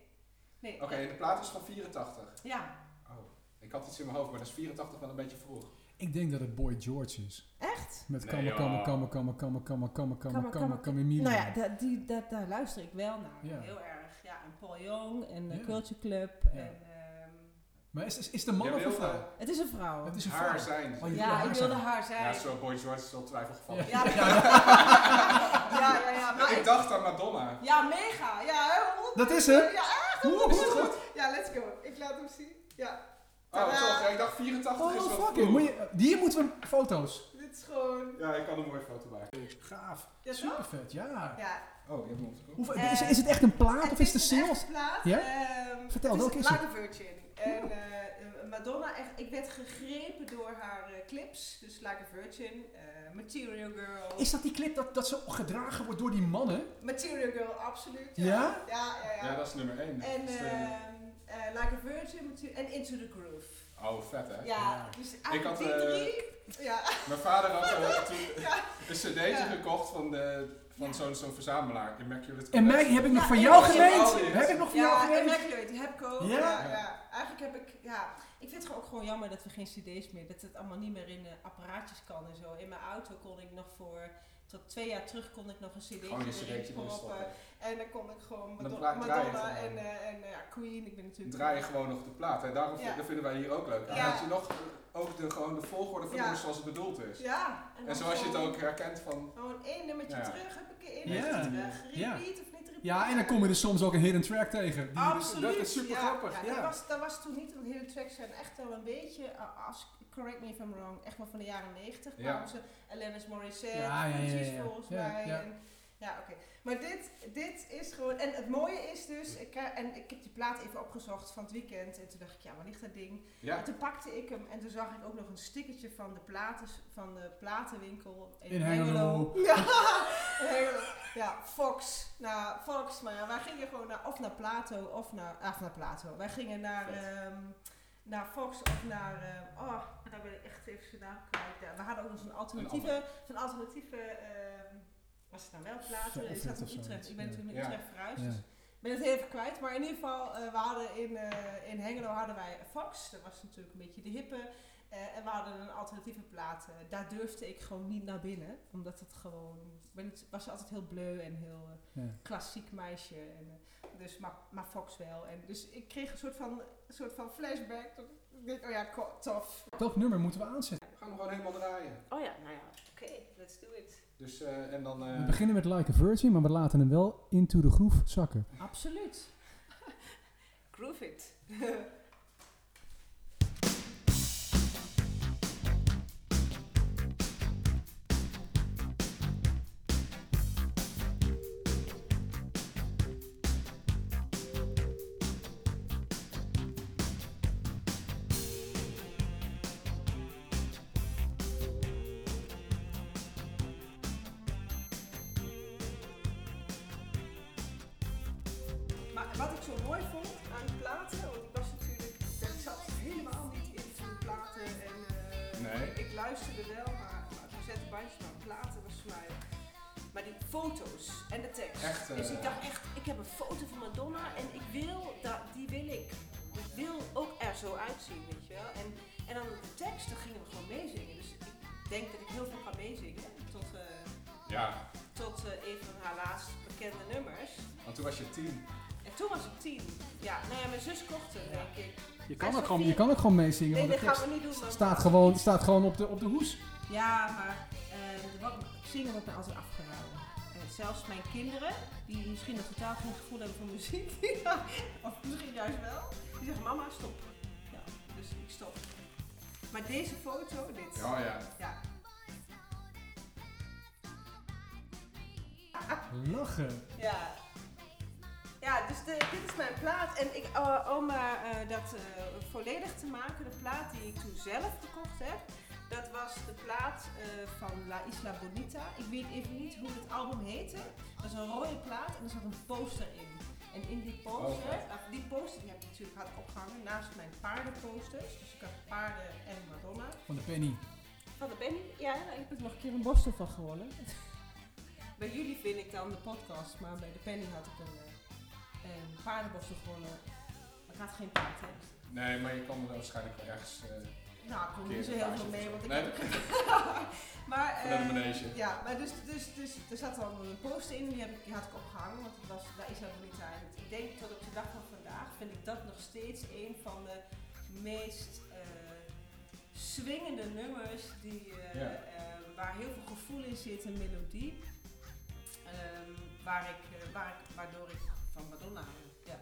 E: Nee.
B: Oké, en de plaat is van 84.
E: Ja.
B: Oh, ik had iets in mijn hoofd, maar dat is 84 wel een beetje vroeg.
A: [LAUGHS] Ik denk dat het Boy George is.
E: Echt?
A: Met
D: Nee,
A: kamme,
D: joh.
A: kamme, kamme, kamme, kamme, kamme, kamme, kamme,
E: Kamme,
A: kamme,
E: kamme,
A: kamme,
E: Nou ja, da- die, da- daar luister ik wel naar.
A: Ja.
E: Heel erg. Ja, en Paul Jong en
A: Ja.
E: eh, Culture Club.
A: Ja.
E: En, ehm,
A: Maar is, is, is de man
B: Jij
A: of een
B: wilde
A: vrouw?
E: het is een vrouw.
A: Het is een
B: haar
A: vrouw.
B: zijn.
A: Oh, je wilde
E: ja,
A: haar
E: ik
A: zijn.
E: wilde haar zijn.
B: Ja, zo Boy George is al twijfelgevallig.
E: Ja, ja, [LAUGHS] ja, ja,
B: [LAUGHS]
E: maar
B: Ik
E: ik-
B: dacht aan Madonna. Oh,
E: ja, mega. Ja, hè, honderd-
A: Dat is hem.
E: Ja, echt.
A: Oeh,
E: honderd-
A: is het
E: Ja, let's go. Ik laat hem zien. Ja,
B: Oh,
E: Tadaa.
B: toch? ja, Ik dacht 84
A: Oh,
B: is wel
A: fucking. Moet
B: vroeg.
A: je, hier moeten we foto's.
E: dit is gewoon...
B: Ja, ik kan een mooie foto maken.
A: Gaaf.
E: Ja, toch?
A: Super vet, ja.
E: Ja.
B: Oh, je hebt hem opgekomen.
A: Hoeveel-
E: Eh,
A: is, is het echt een plaat of is het een
E: een
A: single?
E: echte plaat.
A: Ja?
E: Ehm,
A: Vertel,
E: het
A: welke is
E: Like a Virgin. En eh, Madonna, echt, ik werd gegrepen door haar eh, clips. Dus Like a Virgin, eh, Material Girl.
A: Is dat die clip dat, dat ze gedragen wordt door die mannen?
E: Material Girl, absoluut.
A: Ja?
E: Ja, ja, ja.
B: Ja, dat is nummer 1.
E: En ehm, eh, Like a Virgin Matu- en Into the Groove.
B: Oh, vet hè?
A: Ja.
E: Ja, dus eigenlijk
B: had,
E: die
B: eh,
E: drie. Ja,
B: Mijn vader had
E: [LAUGHS]
B: eh, toen
E: Ja.
B: een cd'tje
E: Ja.
B: gekocht van, de, van
E: Ja.
B: zo'n zo'n verzamelaar, Immaculate
A: En Maggie,
B: Collection.
A: heb ik nog
E: Ja,
A: van
E: en
A: jou
E: dat is
B: al
A: gemeend?
B: dit.
A: Heb ik nog van jou
E: ja en
A: gemeend?
E: Immaculate, die heb ik ook.
A: Ja?
E: Ja? Ja,
B: Ja.
E: Eigenlijk heb ik, ja, ik vind het gewoon ook gewoon jammer dat we geen cd's meer, dat het allemaal niet meer in eh, apparaatjes kan en zo. In mijn auto kon ik nog voor, tot twee jaar terug kon ik nog een cd'tje
B: Gewoon een
E: erin
B: cd'tje erin
E: proppen.
B: stoppen.
E: En dan kon ik gewoon
B: Dan
E: Madonna,
B: draai- draai je
E: Madonna en,
B: gewoon.
E: eh, en eh, ja, Queen, ik ben natuurlijk...
B: Draai je gewoon nog de plaat. Hè? Daarom vind-
E: Ja.
B: dat vinden wij hier ook leuk. aan.
E: Ja.
B: Dat je nog eh, ook de, gewoon de volgorde van
E: Ja.
B: zoals het bedoeld is.
E: Ja. dan
B: En zoals je het
E: gewoon-
B: ook herkent van...
E: Gewoon één nummertje
B: Ja.
E: terug, heb ik één
A: Ja.
E: nummertje terug, repeat
A: Ja.
E: of niet repeat.
A: Ja, en dan kom je er soms ook een hidden track tegen. Die-
E: Absoluut.
A: Dat is super
E: ja.
A: grappig.
E: Ja,
A: Ja.
E: Dat, was, dat was toen niet, want hele tracks zijn echt wel een beetje, eh, als, correct me if I'm wrong, echt wel van de jaren 90.
B: Ja.
E: kwamen ze Alanis Morissette,
A: Ja, ja, ja,
E: Fugees
A: ja.
E: volgens
A: Ja,
E: mij.
A: ja.
E: En, ja, oké. Maar dit, dit is gewoon, en het mooie is dus, ik, eh, en ik heb die plaat even opgezocht van het weekend en toen dacht ik, ja, waar ligt dat ding?
B: Ja,
E: En toen pakte ik hem en toen zag ik ook nog een stickertje van de, platen, van de platenwinkel in,
A: In Hengelo. [LAUGHS]
E: Ja, in Hengelo. Ja, Fox. Nou, Fox, maar ja, wij gingen gewoon naar, of naar Plato of naar, ah, naar Plato. Wij gingen naar,
B: Vet.
E: ehm, naar Fox of naar, ehm, oh, daar ben ik echt even zijn naam kwijt. Ja, we hadden ook nog zo'n alternatieve, zo'n alternatieve, ehm, was het nou wel Plato?
A: Velvet
E: Is dat
A: of
E: in Utrecht?
A: zoiets,
E: Ik ben
A: ja.
E: toen in
B: Ja.
E: Utrecht verhuisd,
A: Ja.
E: dus ik ben het heel even kwijt, maar in ieder geval, eh, we hadden in, eh, in Hengelo hadden wij Fox, dat was natuurlijk een beetje de hippe. eh, en we hadden een alternatieve plaat. eh, daar durfde ik gewoon niet naar binnen, omdat het gewoon, ik ben niet- was altijd heel bleu en heel eh,
A: Ja.
E: klassiek meisje. En, eh, dus, maar, maar Fox wel. En, dus ik kreeg een soort van, soort van flashback. Dat ik denk, oh ja, ko- tof.
A: Welk nummer moeten we aanzetten?
B: we gaan hem gewoon helemaal draaien.
E: Oh ja, nou ja, oké, let's do it.
B: Dus, eh, en dan... eh,
A: We beginnen met Like a Virgin, maar we laten hem wel into de groove zakken.
E: Absoluut. Groove it. Maar wat ik zo mooi vond aan die platen, want ik was natuurlijk, ik zat helemaal niet in die platen en eh,
B: Nee.
E: ik luisterde wel, maar maar zo'n zette bandje, maar platen was voor mij. Maar die foto's en de tekst.
B: Echt, eh,
E: dus ik dacht echt, ik heb een foto van Madonna en ik wil dat, die wil ik. Ik wil ook er zo uitzien, weet je wel. En, en dan de tekst, dan gingen we gewoon meezingen. Dus ik denk dat ik heel veel ga meezingen. Tot, eh,
B: Ja,
E: tot eh, een van haar laatst bekende nummers.
B: want toen was je tien.
E: En toen was ik tien. Ja, nou ja, mijn zus kocht hem, denk ik.
A: Je
E: Hij
A: kan,
E: is
A: ook gewoon,
E: van
A: je kan ook gewoon meezingen,
E: Nee,
A: want
E: dat
A: de
E: gaan
A: tekst
E: we niet doen. maar-
A: staat gewoon, staat gewoon op, de, op de hoes.
E: Ja, maar eh, wat, zingen wordt mij altijd afgeraden. Eh, zelfs mijn kinderen, die misschien nog totaal geen gevoel hebben voor muziek, [LAUGHS] of misschien juist wel, die zeggen mama stop. Ja, dus ik stop. Maar deze foto, dit.
B: Oh ja.
E: Ja.
A: Lachen.
E: Ja. Ja, dus de- dit is mijn plaat. En ik, eh, om eh, eh, dat eh, volledig te maken, de plaat die ik toen zelf gekocht heb, dat was de plaat eh, van La Isla Bonita. Ik weet even niet hoe het album heette. Dat is een rode plaat en er zat een poster in. En in die poster,
B: Oh,
E: of die poster die heb ik natuurlijk had opgehangen naast mijn paardenposters. Dus ik had paarden en Madonna.
A: Van de penny.
E: Van de Benny? Ja, ik heb er nog een keer een borstel van gewonnen. [LAUGHS] bij jullie vind ik dan de podcast, maar bij de Penny had ik een, eh, een paardenborstel gewonnen. Maar ik had geen paard, hè.
B: Nee, maar je kwam er waarschijnlijk wel ergens eh
E: Nou, ik kon er niet zo
B: Keer een
E: heel veel
B: paardje of
E: mee, want
B: zo.
E: ik
B: Nee,
E: heb... [LAUGHS] maar,
B: van de
E: eh,
B: manege.
E: Ja, maar dus, dus, dus er zat dan een poster in, die, heb ik, die had ik opgehangen, want het was, daar is dat niet aan. Ik denk tot op de dag van vandaag vind ik dat nog steeds een van de meest eh, swingende nummers die, eh,
B: Ja.
E: eh, waar heel veel gevoel in zit en melodie. Ehm, waar ik, eh, waar ik, waardoor ik van Madonna hou. Ja.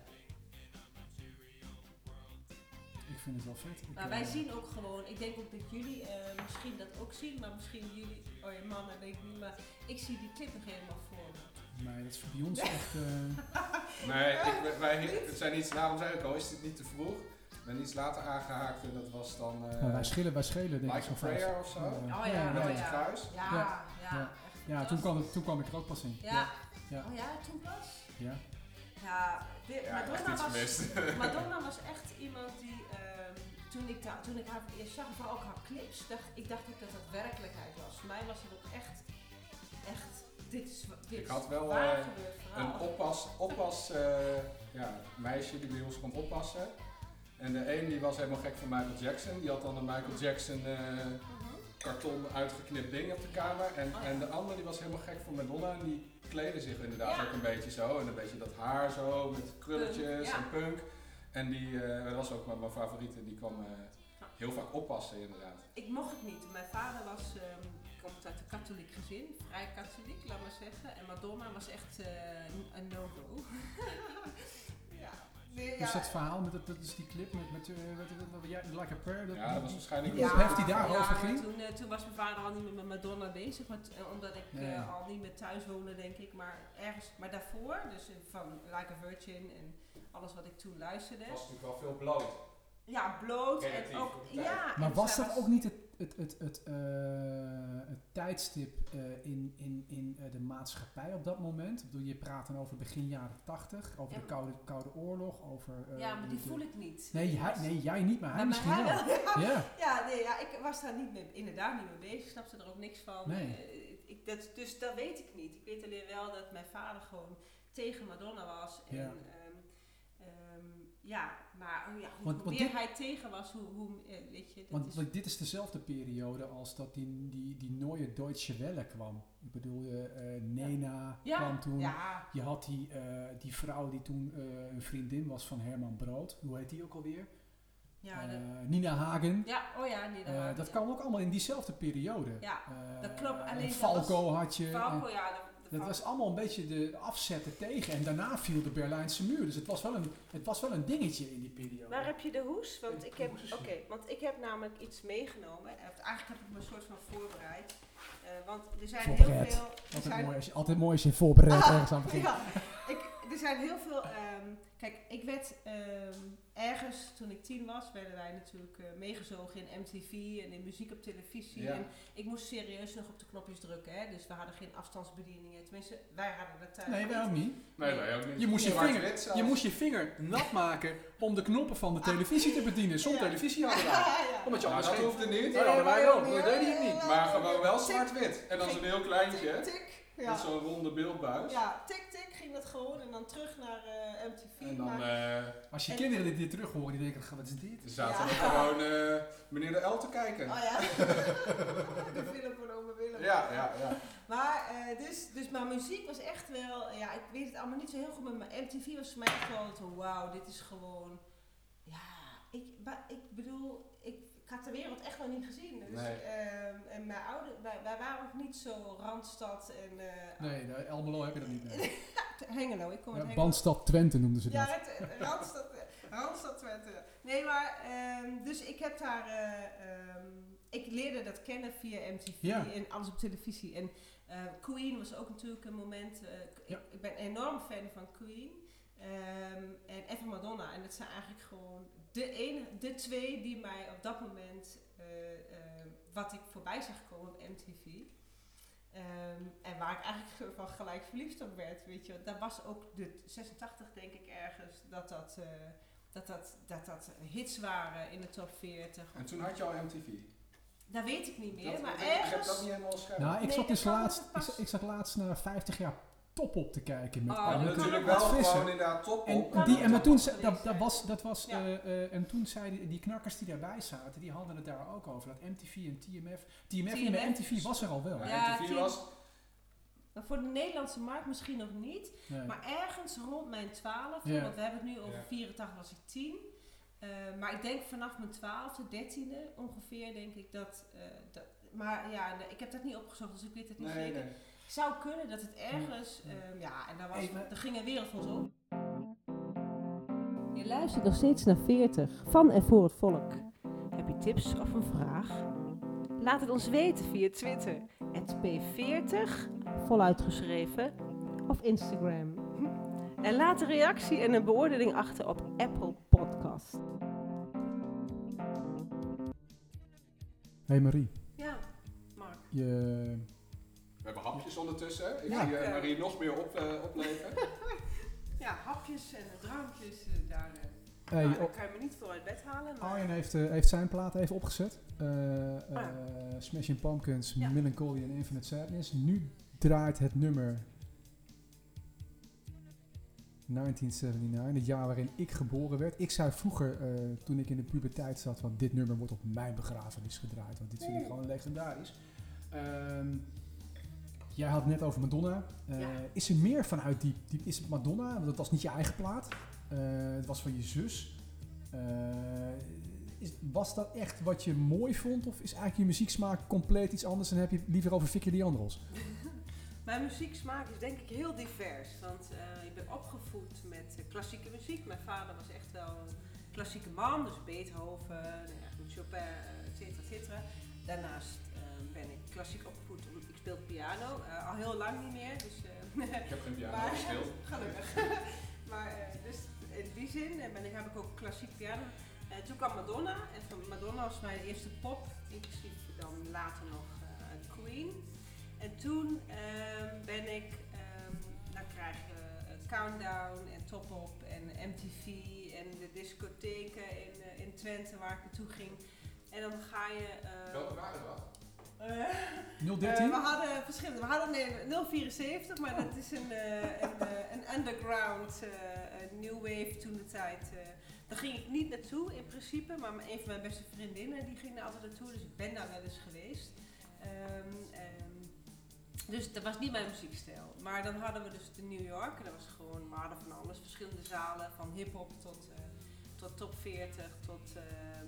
A: Ik vind het wel vet. Ik,
E: Maar
A: eh,
E: Nou, wij zien ook gewoon, ik denk ook dat jullie eh, misschien dat ook zien, maar misschien jullie, oh je mannen, weet ik niet, maar ik zie die clip nog helemaal voor me.
A: Nee, dat is voor bij ons echt... eh,
B: Nee, ik, wij, het zijn iets, daarom zei ik al, is dit niet te vroeg? Ik ben iets later aangehaakt en dat was dan eh,
A: nou, wij schelen, wij schelen denk ik
B: Like a
A: zo'n vijf.
B: Prayer of zo.
A: Eh,
E: Oh ja,
B: Met
E: oh
B: het
E: ja.
B: kruis.
E: Ja,
A: Ja.
E: ja.
A: Ja.
E: echt
A: Ja, toen kwam,
E: fantastisch.
A: het, toen kwam ik er ook pas in.
E: Ja.
A: Ja.
E: Oh ja, toen pas?
A: Ja.
E: Ja, de-
B: Ja, echt
E: Madonna,
B: iets
E: was,
B: gemist. [LAUGHS]
E: Madonna was echt iemand die, ehm, toen, ik daar- toen ik haar voor het eerst zag, maar ook haar clips, dacht, ik dacht ook dat dat werkelijkheid was. Voor mij was het ook echt, echt, dit is, wa- dit
B: Ik
E: is
B: had wel,
E: waar
B: eh,
E: gebeurd
B: Een
E: verhaal.
B: oppas, oppas eh, ja, meisje die bij ons kwam oppassen. En de een die was helemaal gek van Michael Jackson. Die had dan een Michael Jackson eh,
E: Mhm.
B: karton uitgeknipt ding op de kamer. En,
E: Oh ja.
B: en de ander die was helemaal gek van Madonna. En die kleden zich inderdaad
E: Ja.
B: ook een beetje zo. En een beetje dat haar zo met krulletjes
E: Punk, ja.
B: en punk. En die eh, dat was ook mijn, mijn favoriete. Die kwam eh, heel vaak oppassen inderdaad.
E: Ik mocht het niet. Mijn vader was, ehm, komt uit een katholiek gezin, vrij katholiek, laat maar zeggen. En Madonna was echt eh, een no-go. [LAUGHS] ja. Nee,
A: Dus dat verhaal, met, dat, dat is die clip met, met, eh, wat- wat- wat- ja, Like a Prayer. Dat,
B: Ja, dat was waarschijnlijk...
A: Die Ja. ophef die daarover
E: maar
A: ging?
E: Toen, eh, toen was mijn vader al niet meer met Madonna bezig, want, eh, omdat ik
A: Nee.
E: eh, al niet meer thuis woonde, denk ik. Maar ergens, maar daarvoor, dus eh, van Like a Virgin en alles wat ik toen luisterde.
B: was natuurlijk wel veel bloot.
E: Ja, bloot
B: Creatief
E: en ook.
B: op de tijd.
E: Ja,
A: Maar
E: en
A: was
E: zij
A: dat ook niet het, het, het, het, eh, het tijdstip eh, in, in, in eh, de maatschappij op dat moment? Ik bedoel, je praat dan over begin jaren tachtig, over
E: Ja,
A: de
E: maar-
A: Koude, Koude Oorlog, over... eh,
E: Ja, maar die
A: de-
E: voel ik niet.
A: Nee, hij, nee, jij niet, maar hij
E: Maar
A: misschien
E: hij
A: wel. Ja.
E: Ja, nee, ja, ik was daar niet mee, inderdaad niet mee bezig. Snapte er ook niks van.
A: Nee.
E: Eh, ik, dat, dus dat weet ik niet. Ik weet alleen wel dat mijn vader gewoon tegen Madonna was. En,
A: Ja.
E: ehm, ehm, ja maar oh ja, hoe,
A: Want-
E: hoe
A: want
E: meer
A: dit-
E: hij tegen was, hoe, hoe eh, weet je. Dat
A: Want,
E: is,
A: want dit is dezelfde periode als dat die, die, die Neue Deutsche Welle kwam. Ik bedoel, eh, eh, Nena
E: ja,
A: kwam toen.
E: Ja,
A: Je had die, eh, die vrouw die toen eh, een vriendin was van Herman Brood. Hoe heet die ook alweer?
E: ja, dat,
A: Eh, Nina Hagen.
E: ja, oh ja, nee,
A: Eh,
E: had-
A: dat kwam ook allemaal in diezelfde periode.
E: Ja,
A: Eh,
E: dat klopt. Alleen
A: en
E: dat
A: Falco had je.
E: ja.
A: en
E: Falco, ja, dat, dat
A: dat
E: Falco.
A: was allemaal een beetje de afzetten tegen. En daarna viel de Berlijnse muur. Dus het was wel een, het was wel een dingetje in die periode.
E: Waar heb je de hoes? Want ik heb,
A: hoes is
E: oké,
A: hier.
E: want ik heb namelijk iets meegenomen. Eh, Eigenlijk heb ik me een soort van voorbereid. Eh, want er zijn
A: Voorbereid.
E: heel veel. Er
A: altijd,
E: zijn, Ah,
A: mooi als je, altijd mooi als je voorbereid ergens aan begint.
E: ja, ik, er zijn heel veel. ehm, kijk, ik werd ehm, ergens toen ik tien was, werden wij natuurlijk eh, meegezogen in MTV en in muziek op televisie.
B: Ja.
E: En ik moest serieus nog op de knopjes drukken, hè, dus we hadden geen afstandsbedieningen. Tenminste, wij hadden dat thuis.
A: Nee,
E: niet.
A: wij ook niet.
B: Nee, wij ook niet.
A: Je moest je
B: Zwart-wit
A: vinger-
B: zelfs.
A: Je moest je vinger nat maken om de knoppen van de televisie te bedienen. Soms
E: Ah. Ja.
A: televisie hadden wij.
E: [LAUGHS] Ja, ja.
A: Omdat je
B: Nou,
A: anders
B: dat
A: geen...
B: hoefde niet.
A: Nee, wij ook niet.
E: Dat deed hij niet.
B: Maar gewoon wel zwart-wit. En dan
E: Geen-
B: zo'n heel
E: Tik,
B: kleintje.
E: tik.
B: Met
E: Ja.
B: zo'n ronde beeldbuis.
E: ja, tik tik ging dat gewoon en dan terug naar eh, MTV.
B: En dan
E: maar-
B: eh,
A: Als je
E: En-
A: kinderen dit, dit terug horen, die denken, "Ga, wat is dit?
B: zaten
E: Ja.
B: we gewoon eh, meneer de L te kijken.
E: Oh
B: [LAUGHS]
E: ja, [LAUGHS] de film van Ome Willem.
B: Ja, ja, ja.
E: Maar, eh, dus, dus mijn muziek was echt wel, ja, ik weet het allemaal niet zo heel goed, maar mijn MTV was voor mij echt wel zo, wauw, dit is gewoon, ja, ik, maar ik bedoel, ik, ik had de wereld echt wel niet gezien. Dus,
B: Nee.
E: ehm, en mijn ouders, wij, wij waren ook niet zo Randstad en eh,
A: Nee, de Elmelo heb je dat niet meer.
E: Hengelo, ik kom uit
A: Ja,
E: Hengelo.
A: Bandstad Twente noemden ze
E: Ja,
A: dat.
E: het, het Randstad, eh, Randstad Twente. Nee, maar, ehm, dus ik heb daar, eh, ehm, ik leerde dat kennen via MTV
A: Ja.
E: en alles op televisie. En eh, Queen was ook natuurlijk een moment, eh, ik,
A: Ja.
E: ik ben enorm fan van Queen. ehm, en en van Madonna. En dat zijn eigenlijk gewoon de, ene, de twee die mij op dat moment, eh, eh, wat ik voorbij zag komen op MTV. Ehm, en waar ik eigenlijk [LAUGHS] van gelijk verliefd op werd, weet je. wel. Dat was ook de 86 denk ik ergens, dat dat, eh, dat, dat, dat, dat hits waren in de top 40.
B: En toen had je al MTV.
E: Dat weet ik niet meer,
B: dat,
E: maar
B: ik heb
E: ergens...
B: dat niet helemaal scherp.
A: Nou, ik
E: Nee,
A: zat
E: dat
A: dus
E: kan
A: laatst,
E: het pas-
A: ik, ik zat laatst naar 50 jaar top op te kijken met
E: Oh,
B: Ja,
E: dat
A: Arjen
E: kan
B: natuurlijk
E: ook
B: wel
A: Wat Visser.
B: gewoon inderdaad top
A: En,
B: op.
E: Oh, kan
A: die,
E: ook
A: en, maar
E: nog
A: toen,
E: wel
A: ze-
E: geweest
A: dat, dat
E: zijn.
A: was, dat was,
E: Ja.
A: eh, eh, en toen zeiden die, die knakkers die daarbij zaten, die hadden het daar ook over. Dat MTV en TMF. TMF, en
E: TMF.
A: MTV was er al wel.
B: Ja,
A: Ja.
E: Ja,
B: MTV
E: tien.
B: was...
E: Nou, voor de Nederlandse markt misschien nog niet, maar ergens rond mijn 12,
A: Ja.
E: want we hebben het nu over
B: Ja.
E: 84 was ik 10. Eh, maar ik denk vanaf mijn 12e, 13e ongeveer, denk ik dat, eh, dat. Maar ja, nee, ik heb dat niet opgezocht, dus ik weet het niet
B: Nee,
E: zeker.
B: nee.
E: Het zou kunnen dat het ergens.
A: Ja.
E: ehm, ja, en daar was,
A: Even-
E: er ging een wereld voor ons op. Je luistert nog steeds naar 40 van en voor het volk. Heb je tips of een vraag? Laat het ons weten via Twitter, P40, voluit geschreven, of Instagram. [LAUGHS] En laat een reactie en een beoordeling achter op Apple Podcast.
A: Hey Marie,
E: Ja, Mark.
A: je,
B: We hebben hapjes ondertussen. Ik
A: Ja.
B: zie eh, Marie nog meer op, eh,
E: [LAUGHS]
B: opleven.
E: Ja, hapjes en drankjes, eh, daar,
A: hey, oh,
E: kan je Nou, me niet veel uit bed halen.
A: Arjen heeft, eh, heeft zijn plaat even opgezet. Eh eh, Smashing Pumpkins,
E: Ah. Ja.
A: Melancholy en Infinite Sadness. Nu draait het nummer 1979, het jaar waarin ik geboren werd. Ik zei vroeger, eh, toen ik in de puberteit zat, van dit nummer wordt op mijn begrafenis gedraaid. Want dit vind ik gewoon legendarisch. Ehm, jij had het net over Madonna. Eh,
E: Ja.
A: Is er meer vanuit die, die... Is het Madonna? Want dat was niet je eigen plaat. Eh, het was van je zus. Eh, is, was dat echt wat je mooi vond? Of is eigenlijk je muzieksmaak compleet iets anders en heb je het liever over Vicky Leandros?
E: Mijn muzieksmaak is denk ik heel divers. Want eh, ik ben opgevoed met eh, klassieke muziek. Mijn vader was echt wel een klassieke man, dus Beethoven, nou ja, goed, Chopin, eh, et cetera, et cetera. Daarnaast eh, ben ik klassiek opgevoed. Ik speel piano, eh, al heel lang niet meer. Dus, eh,
B: Ik heb geen
E: Maar-
B: piano gespeeld.
E: [LAUGHS] Gelukkig. maar eh, dus in die zin eh, ben ik, heb ik ook klassiek piano. Eh, toen kwam Madonna. En van Madonna was mijn eerste pop. Inclusief dan later nog eh, Queen. En toen ehm, ben ik... ehm, dan krijg je eh, Countdown en Top Op en MTV en de discotheken in, eh, in Twente waar ik naartoe ging. En dan ga je... eh,
B: Welke waren dat?
E: [LAUGHS] eh,
A: 013?
E: eh, we hadden verschillende. We hadden een 074, maar dat is een, eh, een, eh, een underground eh, eh, new wave toen de tijd. eh. daar ging ik niet naartoe in principe, maar een van mijn beste vriendinnen die ging daar altijd naartoe, dus ik ben daar wel eens geweest. Ehm, ehm, dus dat was niet mijn muziekstijl. Maar dan hadden we dus de New York en dat was gewoon, we hadden van alles, verschillende zalen, van hip-hop tot, eh, tot top 40, tot ehm,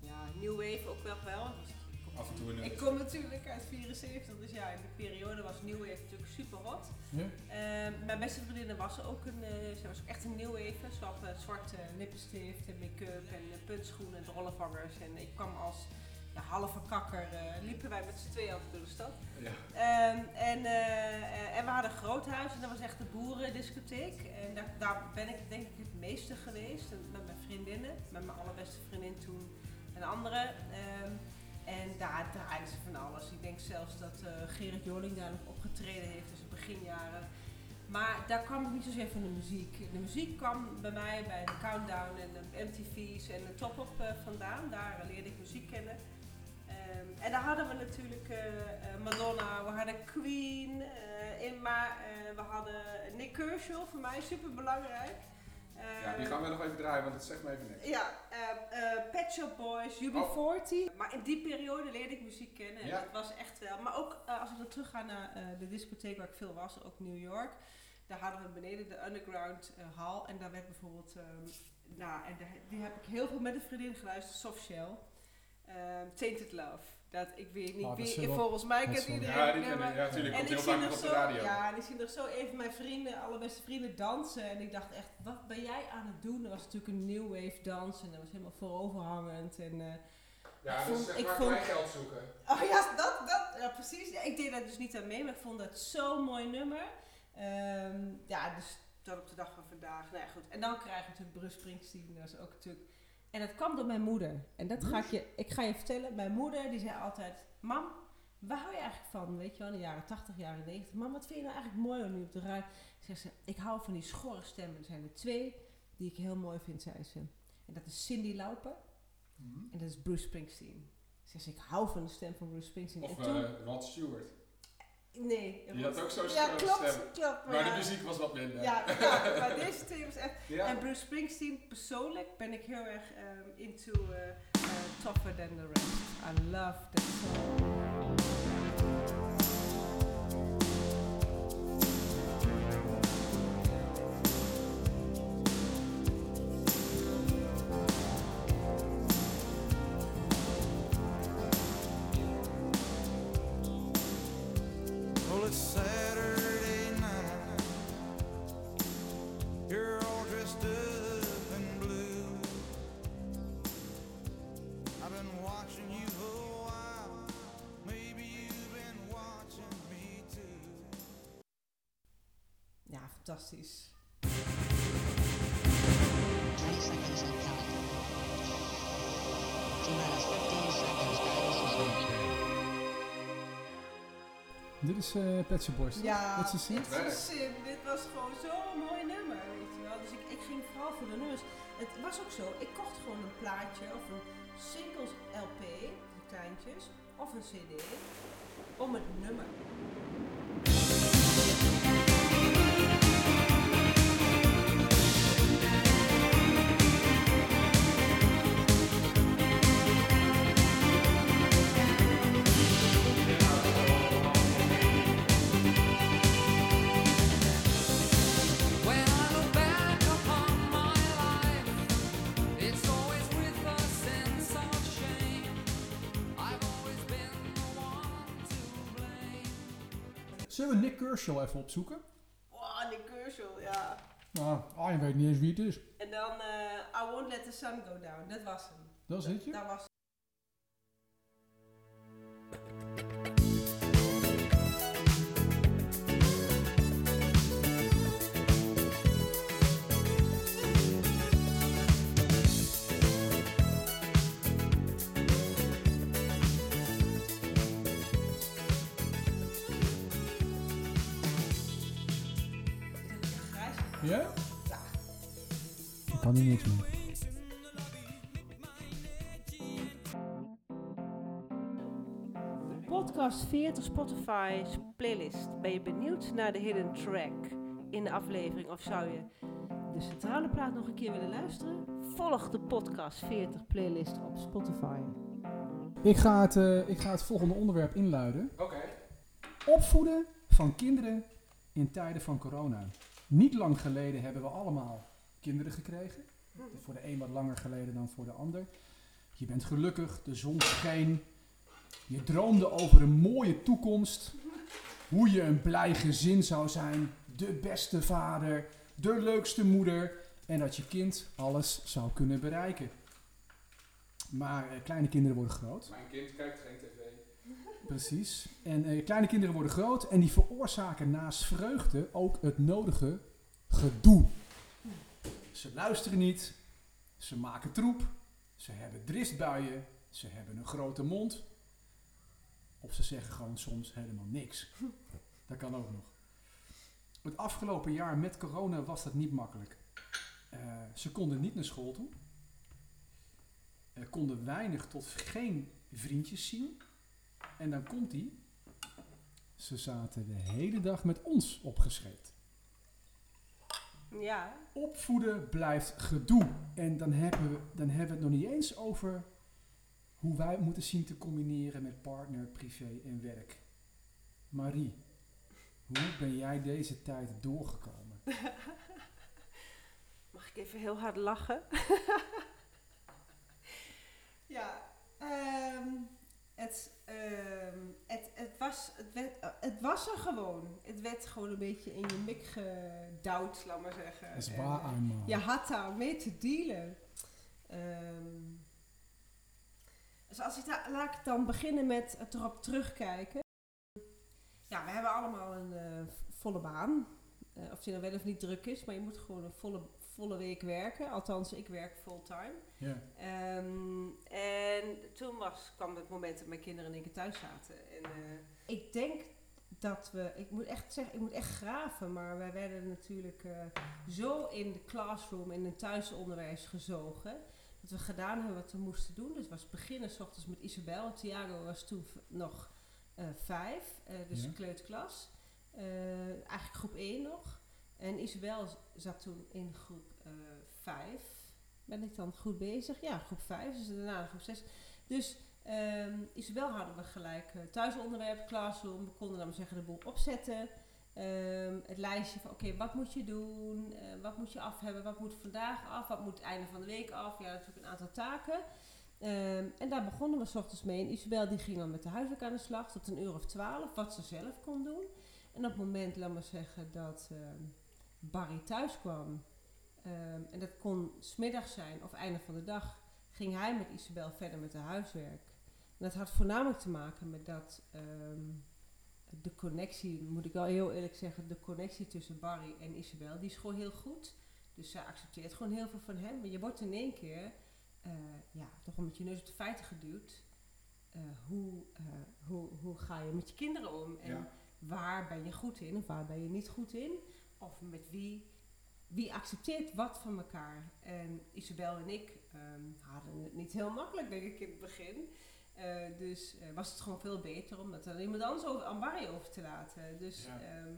E: ja, new wave ook wel wel. Dus ik-
B: Af en toe een
E: ik kom natuurlijk uit 74, dus ja, in die periode was New Wave natuurlijk super hot.
A: Ja.
E: Ehm, mijn beste vriendin was ook een, eh, ze was ook echt een New Wave. Ze had eh, zwarte lippenstift en make-up en eh, puntschoenen en rollenvangers. En ik kwam als ja, halve kakker, eh, liepen wij met z'n tweeën altijd door de stad.
B: Ja.
E: Ehm, en, eh, eh, en we hadden een groot huis en dat was echt de boerendiscotheek. En daar, daar ben ik denk ik het meeste geweest. En Met mijn vriendinnen, met mijn allerbeste vriendin toen en anderen. Ehm, en daar draaiden ze van alles. Ik denk zelfs dat eh, Gerrit Joling daar nog opgetreden heeft, dus in beginjaren. Maar daar kwam ik niet zozeer van de muziek. De muziek kwam bij mij bij de Countdown en de MTV's en de Top Op eh, vandaan. Daar eh, leerde ik muziek kennen. Eh, Ehm, en dan hadden we natuurlijk eh, eh, Madonna, we hadden Queen, eh Imma, eh, we hadden Nick Kershaw, voor mij Ehm, super belangrijk.
B: Ja, die gaan we nog even draaien, want dat zegt me even niks.
E: Ja, eh, eh, Pet Shop Boys, UB40. Maar in die periode leerde ik muziek kennen. En
B: Oh. Ja.
E: dat was echt wel. Maar ook eh, als ik dan terug ga naar eh, de discotheek waar ik veel was, ook New York. Daar hadden we beneden de Underground eh, Hall. En daar werd bijvoorbeeld. ehm, nou, en daar- die heb ik heel veel met een vriendin geluisterd, Soft Shell. Ehm, Tainted Love. Dat ik weet niet
A: Oh, dat is
E: wie.
A: wel-
E: Volgens mij
A: dat is
E: kent
A: wel-
E: iedereen.
B: Ja,
E: het
B: die ken ik.
E: nummer.
B: Ja, natuurlijk.
E: En
B: Komt
E: ik
B: heel
E: zie
B: vaak nog
E: nog
B: op de
E: zo,
B: radio.
E: ja, en ik zie nog zo even mijn vrienden, allerbeste vrienden dansen. En ik dacht echt, wat ben jij aan het doen? Er was natuurlijk een new wave dans en dat was helemaal vooroverhangend. En, eh,
B: Ja, dus
E: Ik
B: dat is
E: vond-
B: zeg
E: ik
B: maar
E: vond-
B: klein geld zoeken.
E: oh ja, dat, dat, ja, precies. Ja, ik deed daar dus niet aan mee, maar ik vond dat zo'n mooi nummer. Ehm, ja, dus dat op de dag van vandaag. Nou ja, goed. En dan krijg je natuurlijk Bruce Springsteen, dat is ook natuurlijk... En dat kwam door mijn moeder. En dat ga ik je, ik ga je vertellen. Mijn moeder, die zei altijd, mam, waar hou je eigenlijk van? Weet je wel, in de jaren 80, jaren 90. Mam, wat vind je nou eigenlijk mooi om nu op de radio? Zegt ze, ik hou van die schorre stemmen. Er zijn er twee die ik heel mooi vind, zei ze. En dat is Cindy Lauper en dat is Bruce Springsteen. Zegt ze, ik hou van de stem van Bruce Springsteen.
B: Of
E: en toen,
B: eh, Rod Stewart.
E: nee.
B: die had ook zo'n
E: Ja,
B: schorre
E: klopt,
B: stem.
E: klopt. Maar,
B: Maar
E: ja.
B: de muziek was wat minder.
E: Ja, ja, maar deze twee was echt...
B: Ja.
E: En Bruce Springsteen, persoonlijk ben ik heel erg ehm, into eh, eh, Tougher Than The Rest. I love that song.
G: Well, it's Saturday night. You're all dressed up in blue. I've been watching you a while. Maybe you've been watching me too.
E: Ja, fantastisch.
H: 20 seconds and counting. T minus 15 seconds. Guidance is reached.
A: Dit is eh Pet Shop Boys. toch?
E: Ja,
A: Dit is een
E: dit
A: zin.
B: Werk.
E: is een zin. Dit was gewoon zo'n mooi nummer, weet je wel. Dus ik, ik ging vooral voor de nummers. Het was ook zo, ik kocht gewoon een plaatje of een singles LP, die kleintjes, of een CD, om het nummer.
I: When I look back upon my life, it's always with a sense of shame. I've always been the one to blame.
A: Zullen we Nick Kershaw even opzoeken?
E: Wow, Nick Kershaw, ja.
A: Nou, Arjen weet niet eens wie het is.
E: En dan eh, I Won't Let The Sun Go Down, dat was hem.
A: Dat is het je?
E: Dat was Grijs.
A: Ja? Ik kan hier niks mee.
E: Podcast 40 Spotify's playlist. Ben je benieuwd naar de hidden track in de aflevering of zou je de centrale plaat nog een keer willen luisteren? Volg de Podcast 40 playlist op Spotify.
A: Ik ga, het, eh, ik ga het volgende onderwerp inluiden.
B: Oké.
A: Opvoeden van kinderen in tijden van corona. Niet lang geleden hebben we allemaal kinderen gekregen. Voor de een wat langer geleden dan voor de ander. Je bent gelukkig, de zon scheen. Je droomde over een mooie toekomst. Hoe je een blij gezin zou zijn. De beste vader, de leukste moeder. En dat je kind alles zou kunnen bereiken. Maar eh, kleine kinderen worden groot.
B: Mijn kind kijkt geen tv.
A: Precies. En eh, kleine kinderen worden groot en die veroorzaken naast vreugde ook het nodige gedoe. Ze luisteren niet, ze maken troep, ze hebben driftbuien, ze hebben een grote mond. Of ze zeggen gewoon soms helemaal niks. Dat kan ook nog. Het afgelopen jaar met corona was dat niet makkelijk. Eh, ze konden niet naar school toe. Er konden weinig tot geen vriendjes zien. En dan komt hij. Ze zaten de hele dag met ons opgescheept.
E: Ja.
A: Opvoeden blijft gedoe. En dan hebben, we, dan hebben we het nog niet eens over hoe wij moeten zien te combineren met partner, privé en werk. Marie, hoe ben jij deze tijd doorgekomen?
E: Mag ik even heel hard lachen? [LAUGHS] ja, ehm, het, ehm, het, het, was, het, werd, eh, het was er gewoon. Het werd gewoon een beetje in je mik gedouwd, laat maar zeggen.
A: Dat is
E: En,
A: waar
E: eh,
A: eenmaal.
E: je had daar mee te dealen. Ehm, dus als ik daar, laat ik dan beginnen met het erop terugkijken. Ja, we hebben allemaal een eh, volle baan. Eh, of die nou wel of niet druk is, maar je moet gewoon een volle, volle week werken. Althans, ik werk fulltime.
A: Ja.
E: Ehm, en toen was, kwam het moment dat mijn kinderen in één keer thuis zaten. En, eh, ik denk dat we, ik moet echt zeggen, ik moet echt graven, maar wij werden natuurlijk eh, zo in de classroom, in het thuisonderwijs gezogen. Dat we gedaan hebben wat we moesten doen. Dus was beginnen s ochtends met Isabel. Thiago was toen v- nog eh, vijf, eh, dus
A: Ja.
E: kleuterklas. Eh, eigenlijk groep 1 nog. En Isabel z- zat toen in groep eh 5. Ben ik dan goed bezig? Ja, groep 5. Dus daarna groep 6. Dus ehm, Isabel hadden we gelijk eh, thuisonderwerp, classroom. We konden dan maar zeggen de boel opzetten. Ehm, het lijstje van oké, wat moet je doen? Eh, wat moet je af hebben? Wat moet vandaag af? Wat moet het einde van de week af? Ja, natuurlijk een aantal taken. Ehm, en daar begonnen we s ochtends mee. En Isabel die ging dan met de huiswerk aan de slag tot een uur of twaalf, wat ze zelf kon doen. En op het moment, laat maar zeggen, dat ehm, Barry thuis kwam, ehm, en dat kon smiddag zijn of einde van de dag, ging hij met Isabel verder met de huiswerk. En dat had voornamelijk te maken met dat ehm, de connectie, moet ik wel heel eerlijk zeggen, de connectie tussen Barry en Isabel, die is gewoon heel goed. Dus zij accepteert gewoon heel veel van hem. Maar je wordt in één keer eh, ja, toch wel met je neus op de feiten geduwd. Eh, hoe, eh, hoe, hoe ga je met je kinderen om? En
B: Ja.
E: waar ben je goed in of waar ben je niet goed in? Of met wie? Wie accepteert wat van elkaar? En Isabel en ik ehm, hadden het niet heel makkelijk, denk ik, in het begin. Eh, dus eh, was het gewoon veel beter om dat aan iemand anders over, aan Barry over te laten. Dus,
B: Ja.
E: ehm,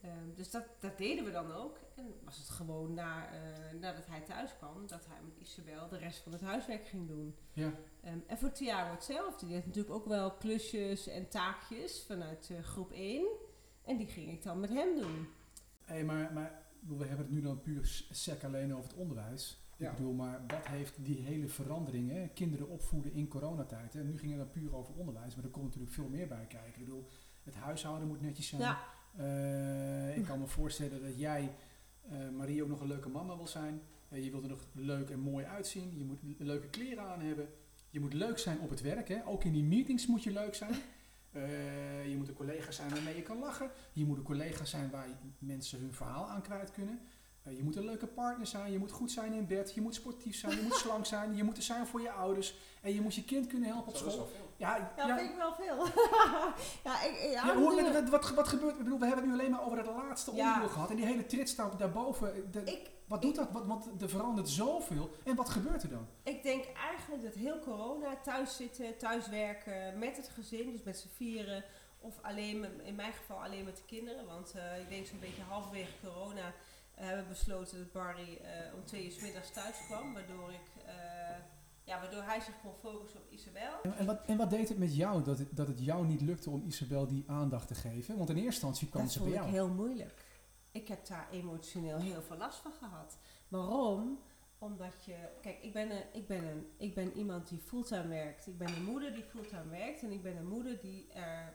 E: ehm, dus dat, dat deden we dan ook. En was het gewoon na, eh, nadat hij thuis kwam, dat hij met Isabel de rest van het huiswerk ging doen.
A: Ja.
E: Ehm, en voor Thiago hetzelfde. Die had natuurlijk ook wel klusjes en taakjes vanuit eh, groep 1. En die ging ik dan met hem doen.
A: Hey, maar, maar ik bedoel, we hebben het nu dan puur s- sec alleen over het onderwijs.
B: Ja.
A: Ik bedoel, maar wat heeft die hele verandering, hè? kinderen opvoeden in coronatijd, en nu ging het dan puur over onderwijs, maar er komt natuurlijk veel meer bij kijken. Ik bedoel, het huishouden moet netjes zijn.
E: Ja.
A: Eh, ik kan me voorstellen dat jij, eh, Marie, ook nog een leuke mama wil zijn. Eh, je wilt er nog leuk en mooi uitzien. Je moet le- leuke kleren aan hebben. Je moet leuk zijn op het werk. Hè? Ook in die meetings moet je leuk zijn. Eh, je moet een collega zijn waarmee je kan lachen. Je moet een collega zijn waar je- mensen hun verhaal aan kwijt kunnen. Eh, je moet een leuke partner zijn. Je moet goed zijn in bed. Je moet sportief zijn. Je moet slank zijn. Je moet er zijn voor je ouders. En je moet je kind kunnen helpen op
B: Zo is
A: school.
B: wel veel.
A: Ja,
E: Ja,
A: ja,
E: vind ik wel veel. [LAUGHS] ja, ik, ja,
A: ja, hoe,
E: natuurlijk.
A: wat, wat, wat gebeurt? Ik bedoel, we hebben het nu alleen maar over dat laatste
E: Ja.
A: onderdeel gehad. En die hele trits daar, daarboven. eh, de-
E: ik,
A: wat doet dat? Wat, want er verandert zoveel. En wat gebeurt er dan?
E: ik denk eigenlijk dat heel corona, thuis zitten, thuis werken, met het gezin, dus met z'n vieren. Of alleen, met- in mijn geval alleen met de kinderen. Want eh, ik denk zo'n beetje halverwege corona eh, hebben we besloten dat Barry eh, om twee uur 's middags thuis kwam. Waardoor, ik, eh, ja, waardoor hij zich kon focussen op Isabel.
A: En, en wat, en wat deed het met jou dat het, dat het jou niet lukte om Isabel die aandacht te geven? Want in eerste instantie kwam
E: Dat
A: ze bij
E: vond ik
A: jou.
E: heel moeilijk. Ik heb daar emotioneel heel veel last van gehad. Waarom? Omdat je, kijk, ik ben, een, ik, ben een, ik ben iemand die fulltime werkt. Ik ben een moeder die fulltime werkt. En ik ben een moeder die er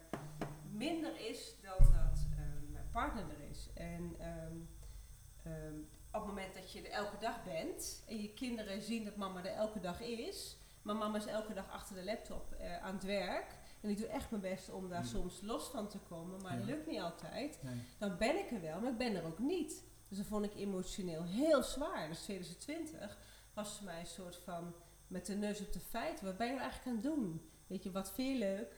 E: minder is dan dat ehm, mijn partner er is. En ehm, ehm, op het moment dat je er elke dag bent en je kinderen zien dat mama er elke dag is, maar mama is elke dag achter de laptop eh, aan het werk. En ik doe echt mijn best om daar
A: Hmm.
E: soms los van te komen, maar het
A: Ja.
E: lukt niet altijd
A: Nee.
E: dan ben ik er wel, maar ik ben er ook niet. Dus dat vond ik emotioneel heel zwaar. Dus 2020 was voor mij een soort van met de neus op de feiten. Wat ben je nou eigenlijk aan het doen? Weet je, wat vind je leuk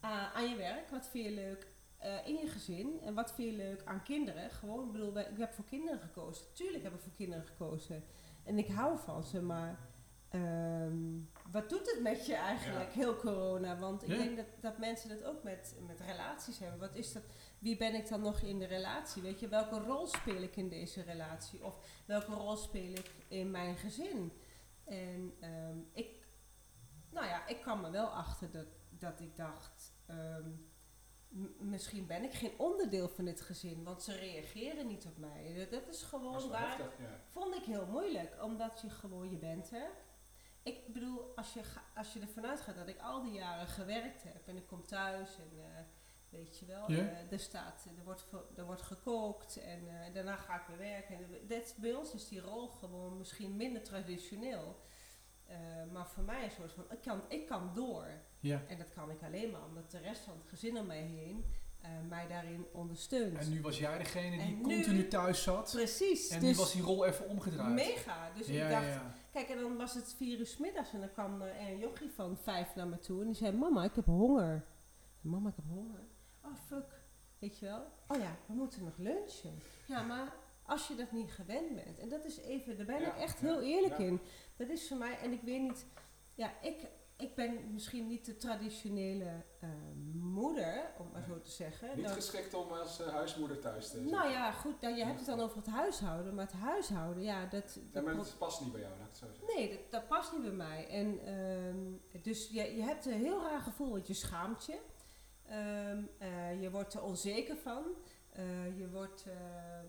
E: eh, aan je werk? Wat vind je leuk eh, in je gezin? En wat vind je leuk aan kinderen? Gewoon, ik bedoel, wij- ik heb voor kinderen gekozen. Tuurlijk heb ik voor kinderen gekozen. En ik hou van ze, maar ehm, wat doet het met je eigenlijk, heel corona? Want ik
A: Ja.
E: denk dat, dat mensen het ook met, met relaties hebben. Wat is dat? Wie ben ik dan nog in de relatie? Weet je, welke rol speel ik in deze relatie? Of welke rol speel ik in mijn gezin? En ehm, ik, nou ja, ik kwam er wel achter dat, dat ik dacht, ehm, m- misschien ben ik geen onderdeel van dit gezin, want ze reageren niet op mij. Dat, dat is gewoon
B: Dat is wel
E: waar
B: heftig, ja.
E: Vond ik heel moeilijk, omdat je gewoon, je bent er. Ik bedoel, als je, ga- als je ervan uitgaat dat ik al die jaren gewerkt heb en ik kom thuis en eh, weet je wel,
A: Ja.
E: eh, er staat, er wordt, vo- er wordt gekookt en eh, daarna ga ik weer werken. En Dat, bij ons is die rol gewoon misschien minder traditioneel. Eh, maar voor mij is het een soort van, ik kan, ik kan door.
A: Ja.
E: En dat kan ik alleen maar omdat de rest van het gezin om mij heen eh, mij daarin ondersteunt.
A: En nu was jij degene die
E: En nu-
A: continu thuis zat.
E: Precies.
A: En nu
E: dus
A: was die rol even omgedraaid.
E: mega. Dus
A: ja,
E: ik dacht,
A: ja, ja.
E: Kijk, en dan was het vier uur 's middags en dan kwam er een jochie van vijf naar me toe en die zei, mama, ik heb honger. Mama, ik heb honger. Oh, fuck. Weet je wel? Oh ja, we moeten nog lunchen. Ja, maar als je dat niet gewend bent, en dat is even, daar ben
B: Ja,
E: ik echt
B: ja,
E: heel eerlijk
B: ja.
E: in. Dat is voor mij, en ik weet niet, ja, ik, ik ben misschien niet de traditionele eh, moeder, om maar zo te zeggen.
B: Niet
E: Dan-
B: geschikt om als eh, huismoeder thuis te zijn.
E: nou ja, goed, nou, je hebt het dan over het huishouden, maar het huishouden, ja, dat...
B: Ja,
E: dat
B: maar
E: pro-
B: het past niet bij jou, laat ik het zo zeggen.
E: Nee, dat, dat past niet bij mij. En, ehm, dus je, je hebt een heel raar gevoel, want je schaamt je. Ehm, eh, je wordt er onzeker van. Eh, je wordt... ehm,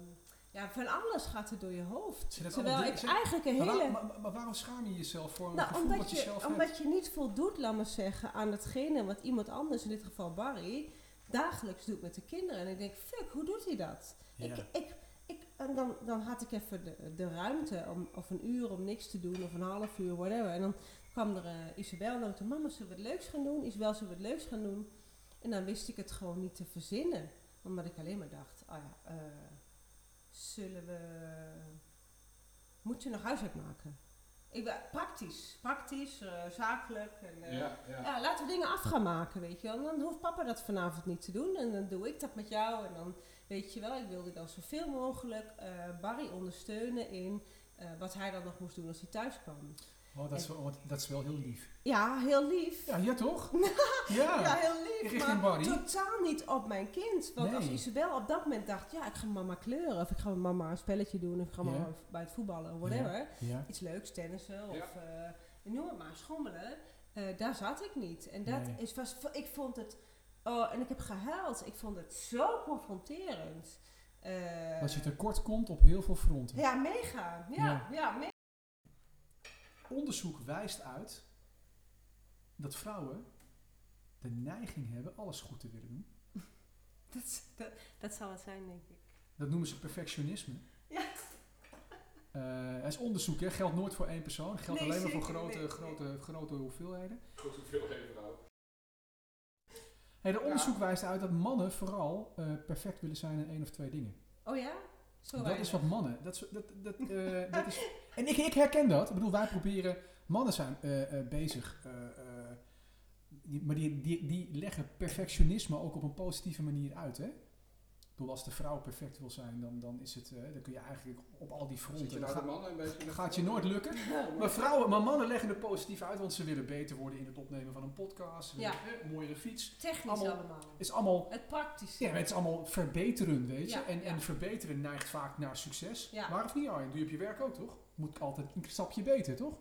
E: ja, van alles gaat er door je hoofd.
A: Zie je dat
E: Terwijl
A: allemaal
E: ik
A: dingen-
E: eigenlijk een
A: Maar, waar-
E: hele...
A: maar- maar- maar waarom schaam je jezelf voor een
E: Nou,
A: gevoel
E: omdat,
A: dat je,
E: je,
A: zelf hebt?
E: omdat je niet voldoet, laat maar zeggen, aan datgene wat iemand anders, in dit geval Barry, dagelijks doet met de kinderen. En ik denk, fuck, hoe doet hij dat?
A: Ja.
E: Ik, ik, ik, en dan, dan had ik even de, de ruimte, om, of een uur om niks te doen, of een half uur, whatever. En dan kwam er eh, Isabel en toen, mama, zullen we het leuks gaan doen? Isabel, zullen we het leuks gaan doen? En dan wist ik het gewoon niet te verzinnen. Omdat ik alleen maar dacht, ah ja, eh, zullen we... Moet je nog huiswerk maken? Ik ben praktisch, praktisch, eh, zakelijk. En, eh,
B: Ja, ja.
E: ja, laten we dingen af gaan maken, weet je wel. En dan hoeft papa dat vanavond niet te doen. En dan doe ik dat met jou. En dan, weet je wel, ik wilde dan zoveel mogelijk eh, Barry ondersteunen in eh, wat hij dan nog moest doen als hij thuis kwam.
A: Oh, dat, is wel, want dat is wel heel lief.
E: Ja, heel lief.
A: Ja, ja
E: [LAUGHS]
A: toch? ja.
E: Ja, heel lief,
A: Richting
E: maar
A: Barry.
E: totaal niet op mijn kind. Want
A: Nee.
E: als Isabel op dat moment dacht, ja, ik ga mama kleuren. Of ik ga met mama een spelletje doen. Of ik ga
A: Ja.
E: mama bij het voetballen, whatever.
A: Ja.
E: Iets leuks, tennissen of
B: Ja.
E: eh, noem het maar, schommelen. Eh, daar zat ik niet. En dat
A: Nee.
E: is, was, ik vond het, oh, en ik heb gehuild. Ik vond het zo confronterend. Eh,
A: Als je tekort komt op heel veel fronten.
E: Ja, mega. Ja,
A: Ja.
E: ja. me-
A: Onderzoek wijst uit dat vrouwen de neiging hebben alles goed te willen doen.
E: dat, is- dat, dat zal het zijn, denk ik.
A: Dat noemen ze perfectionisme.
E: Ja.
A: Eh, dat is onderzoek, hè. geldt nooit voor één persoon. Geldt
E: Nee,
A: alleen maar voor
E: zeker,
A: grote,
E: nee,
A: grote, grote hoeveelheden.
B: Goed hoeveel even vrouw.
A: Hey, de onderzoek wijst uit dat mannen vooral eh, perfect willen zijn in één of twee dingen.
E: Oh ja? Zo
A: dat
E: weinig.
A: is wat mannen. Dat, is- dat, dat, eh, [LAUGHS] dat is, en ik, ik herken dat. Ik bedoel, wij proberen. Mannen zijn eh, eh, bezig. eh, eh, die, maar die, die, die leggen perfectionisme ook op een positieve manier uit. Hè? Ik bedoel, als de vrouw perfect wil zijn, dan, dan, is het, eh, dan kun je eigenlijk op al die fronten.
B: Zit je nou
A: dan
B: de mannen een beetje...
A: ga- gaat je
B: [LAUGHS]
E: [LAUGHS]
A: nooit lukken. Maar, vrouwen, maar mannen leggen er positief uit, want ze willen beter worden in het opnemen van een podcast. Ze willen, eh, een mooiere fiets.
E: Technisch
A: allemaal-
E: allemaal.
A: Het is allemaal
E: Het praktische.
A: ja, maar het is allemaal verbeteren, weet je.
E: Ja,
A: en,
E: ja.
A: en verbeteren neigt vaak naar succes.
E: Ja.
A: Maar of niet, Arjen? Doe je op je werk ook, toch? Moet altijd een stapje beter, toch?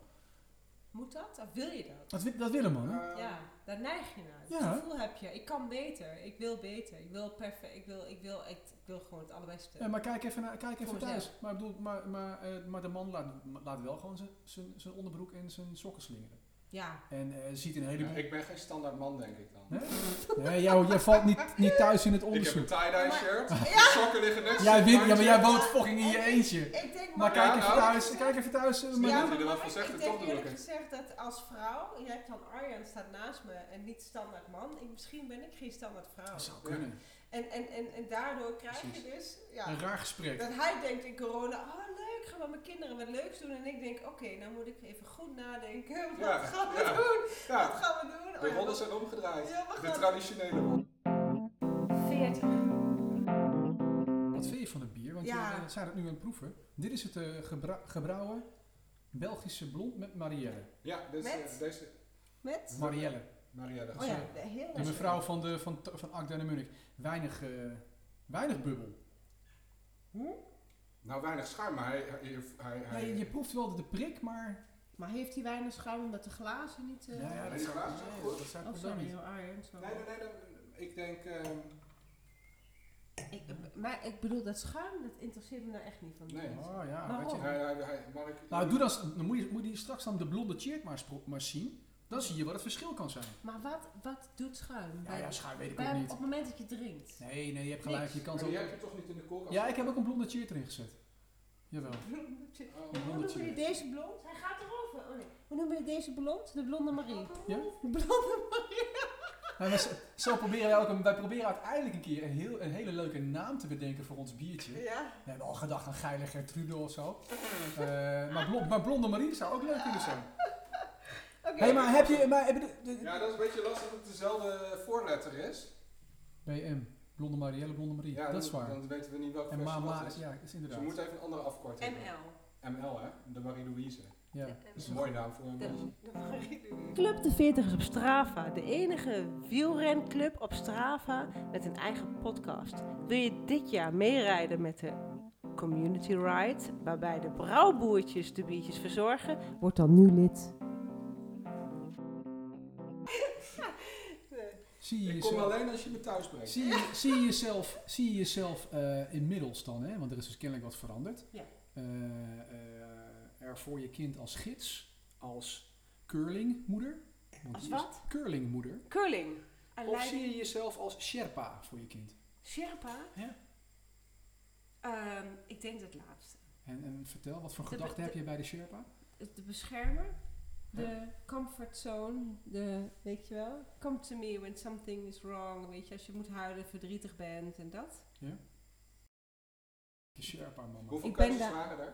E: Moet dat? Of wil je dat?
A: Dat, wi- dat willen mannen.
B: eh,
E: Ja, daar neig je naar.
A: Ja.
E: Het gevoel heb je, ik kan beter, ik wil beter, ik wil perfect, ik wil, ik wil, ik, ik wil gewoon het allerbeste.
A: Ja, Eh, maar kijk even, naar, kijk even
E: Voor
A: thuis. Maar, ik bedoel, maar, maar, eh, maar de man laat, laat wel gewoon zijn- zijn zijn onderbroek en zijn sokken slingeren.
E: Ja,
A: En eh, ziet een
B: Ja,
A: heleboel...
B: ik ben geen standaard man, denk ik dan.
A: Nee? Nee, jou, jij valt niet, niet thuis in het
B: Ik heb een
A: onderzoek.
B: tie-dye
E: Maar-
B: shirt, [LAUGHS] de sokken liggen niks.
A: Jij wint, ja, maar jij woont
E: Ja,
A: fucking in je
E: en-
A: eentje.
E: ik denk
A: Maar
E: maar...
A: kijk
B: Ja,
A: even
B: nou.
A: thuis, kijk even thuis. eh, maar-
B: Ja,
A: Ja,
B: dat hij er wat
E: maar
B: van zegt,
E: ik
B: dat
E: denk
B: toch doe ik
E: eerlijk
B: het.
E: gezegd dat als vrouw, je hebt dan Arjan staat naast me en niet standaard man, ik, misschien ben ik geen standaard vrouw.
A: Dat zou kunnen.
E: En, en, en, en daardoor krijg
A: Precies.
E: je dus, ja,
A: Een raar gesprek.
E: dat hij denkt in corona, oh leuk, gaan we mijn kinderen wat leuks doen. En ik denk, oké, nou moet ik even goed nadenken, [LAUGHS] wat
B: Ja,
E: gaan we
B: ja.
E: doen? Wat
B: Ja,
E: gaan we doen? Oh
B: de
E: ja,
B: rollen
E: wat-
B: zijn omgedraaid.
E: ja, we
B: De
E: gaan-
B: traditionele rol.
E: 40.
A: Wat vind je van het bier? Want
E: Ja.
A: we zijn het nu aan het proeven. Dit is het eh, gebra- gebrouwen Belgische blond met Marielle.
B: Ja, dus eh,
J: Met?
B: deze
J: Met?
A: Marielle.
B: Marielle.
J: Oh ja,
A: Sorry.
J: de- heel
A: De mevrouw van, de, van, van Akda en de Munich. Weinig, eh, weinig bubbel.
B: Nou, weinig schuim, maar hij... hij, hij, hij-
A: Nee, je proeft wel de prik, maar...
E: Maar heeft hij weinig schuim omdat de glazen niet... eh
A: Nou ja,
B: die glazen zijn
A: nee,
B: goed.
A: dat zou ik
E: Oh,
A: zo
E: sorry,
A: niet.
E: heel iron. sorry.
B: Nee, nee, nee, nee, Ik denk... ehm,
E: Ik, maar ik bedoel, dat schuim, dat interesseert me nou echt niet. Van
B: Nee.
A: Oh ja,
E: Waarom?
A: weet je.
B: hij, hij, hij, Mark,
A: Nou, doe dan, s- dan moet, je, moet je straks dan de blonde chick maar, spro- maar zien. Dan zie je wat het verschil kan zijn.
E: Maar wat, wat doet schuim?
A: Ja,
E: bij-
A: ja, schuim weet ik ook
E: bij- op
A: niet.
E: het moment dat je drinkt. [LAUGHS]
A: Nee, nee, je hebt gelijk. Je kan
B: Maar
A: het
B: die
A: ook...
B: heb je toch niet in de koelkast?
A: Ja, ik heb ook een blonde cheer erin gezet. Jawel.
B: Oh.
E: Hoe noemen jullie deze blond? Hij gaat erover. Oh nee. Hoe noemen jullie deze blond? De blonde Marie.
A: Ja?
E: De blonde Marie.
A: Nou, maar zo, zo proberen wij ook, een- wij proberen uiteindelijk een keer een, heel, een hele leuke naam te bedenken voor ons biertje.
J: Ja,
A: We hebben al gedacht aan Geile Gertrude of zo. Eh, maar, blond, maar Blonde Marie zou ook leuk kunnen zijn.
J: oké.
A: Hé, hey, maar heb je... Maar, heb je de- de-
B: Ja, dat is een beetje lastig dat het dezelfde voorletter is.
A: BM, Blonde Marielle, Blonde Marie.
B: Ja,
A: dat is
B: dan-
A: waar.
B: Dan weten we niet welke
A: en
B: versie
A: Mama,
B: dat is.
A: ja, is
B: Dus
A: inderdaad.
B: we moeten even een andere afkorting. hebben.
J: ML.
B: ML, hè? De Marie-Louise.
A: ja.
J: De-
B: Dat is een mooie naam voor een
J: de-
B: meisje.
J: de Marie-Louise.
E: Club de 40 is op Strava, de enige wielrenclub op Strava met een eigen podcast. Wil je dit jaar meerijden met de Community Ride, waarbij de brouwboertjes de biertjes verzorgen? Word dan nu lid. [LAUGHS]
J: Nee.
A: Zie je
B: Ik kom
A: jezelf-
B: alleen als je me thuis brengt.
A: eh, Zie je, zie je jezelf, zie je jezelf eh, inmiddels dan, hè? want er is dus kennelijk wat veranderd.
E: Ja.
A: Eh, eh, er voor je kind als gids, als curlingmoeder. Want
E: Als
A: die is
E: wat?
A: Curlingmoeder.
J: Curling.
A: Of zie je jezelf als Sherpa voor je kind?
E: Sherpa?
A: Ja.
E: Ehm, ik denk dat laatste.
A: En, en vertel, wat voor
E: De-
A: gedachten
E: de-
A: heb je bij de Sherpa?
E: De beschermer, de comfort zone, de, weet je wel, come to me when something is wrong, weet je, als je moet huilen, verdrietig bent en dat.
A: De Sherpa mama.
B: Hoeveel
E: Ik ben
B: keuzes
E: daar-
B: waren er?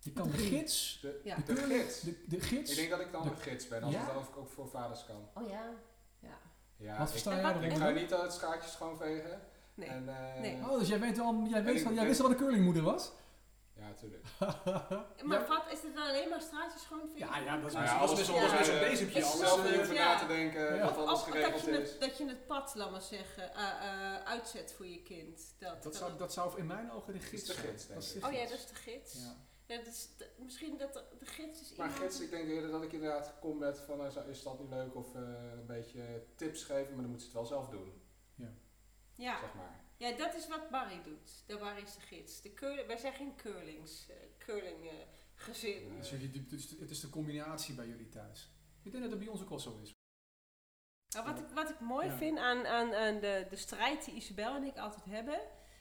A: Je kan de
E: Drie.
A: gids,
B: De,
E: Ja.
B: de,
A: De
B: gids.
A: de, de
B: Ik
A: gids.
B: denk dat ik dan
A: de-
B: een gids ben, als
A: Ja?
B: het dan ook- ook voor vaders kan.
E: Oh ja, ja.
B: Ja,
A: Wat
B: ik,
A: versta jij
E: en wat-
B: ik
A: eronder?
B: ga niet al het schaartje schoonvegen.
E: Nee.
B: En, eh,
E: Nee.
A: Oh, dus jij weet wel, jij
B: En
A: weet
B: ik-
A: wel, jij wist wel wat een curlingmoeder was?
B: Ja, tuurlijk.
A: [LAUGHS]
E: Maar wat, is het dan alleen maar straatjes schoonvegen?
A: dat
B: Nou ja, alles
J: dat is
B: eh,
J: best
B: Ik
E: alles,
B: zelf niet
E: eh,
B: over
E: ja.
B: na te denken
A: Ja.
B: wat alles
E: Of dat
B: geregeld
E: je,
B: is.
E: het, dat je het pad, laat maar zeggen, eh, eh, uitzet voor je kind. Dat, eh,
A: Dat zou, dat zou in mijn ogen de gids
B: de
A: zijn.
B: gids, denk
A: is
B: ik.
A: de
E: oh ja,
A: gids.
E: dat is de gids.
A: Ja.
E: Ja, dat is de- misschien dat de, de gids is
B: Maar
E: iemand...
B: gids, ik denk eerder dat ik inderdaad kom met van eh, zou- is dat nu leuk of eh, een beetje tips geven, maar dan moet ze het wel zelf doen,
E: ja.
B: zeg maar.
E: ja, dat is wat Barry doet. De Barry is de gids. De curl, wij zijn geen curlings, eh, curling eh, gezin.
A: Dus jullie- het is de- het is de combinatie bij jullie thuis. Ik denk dat het bij ons ook wel zo is.
E: Maar Nou, wat, ik, wat ik mooi
A: Ja.
E: vind aan, aan, aan de, de strijd die Isabel en ik altijd hebben,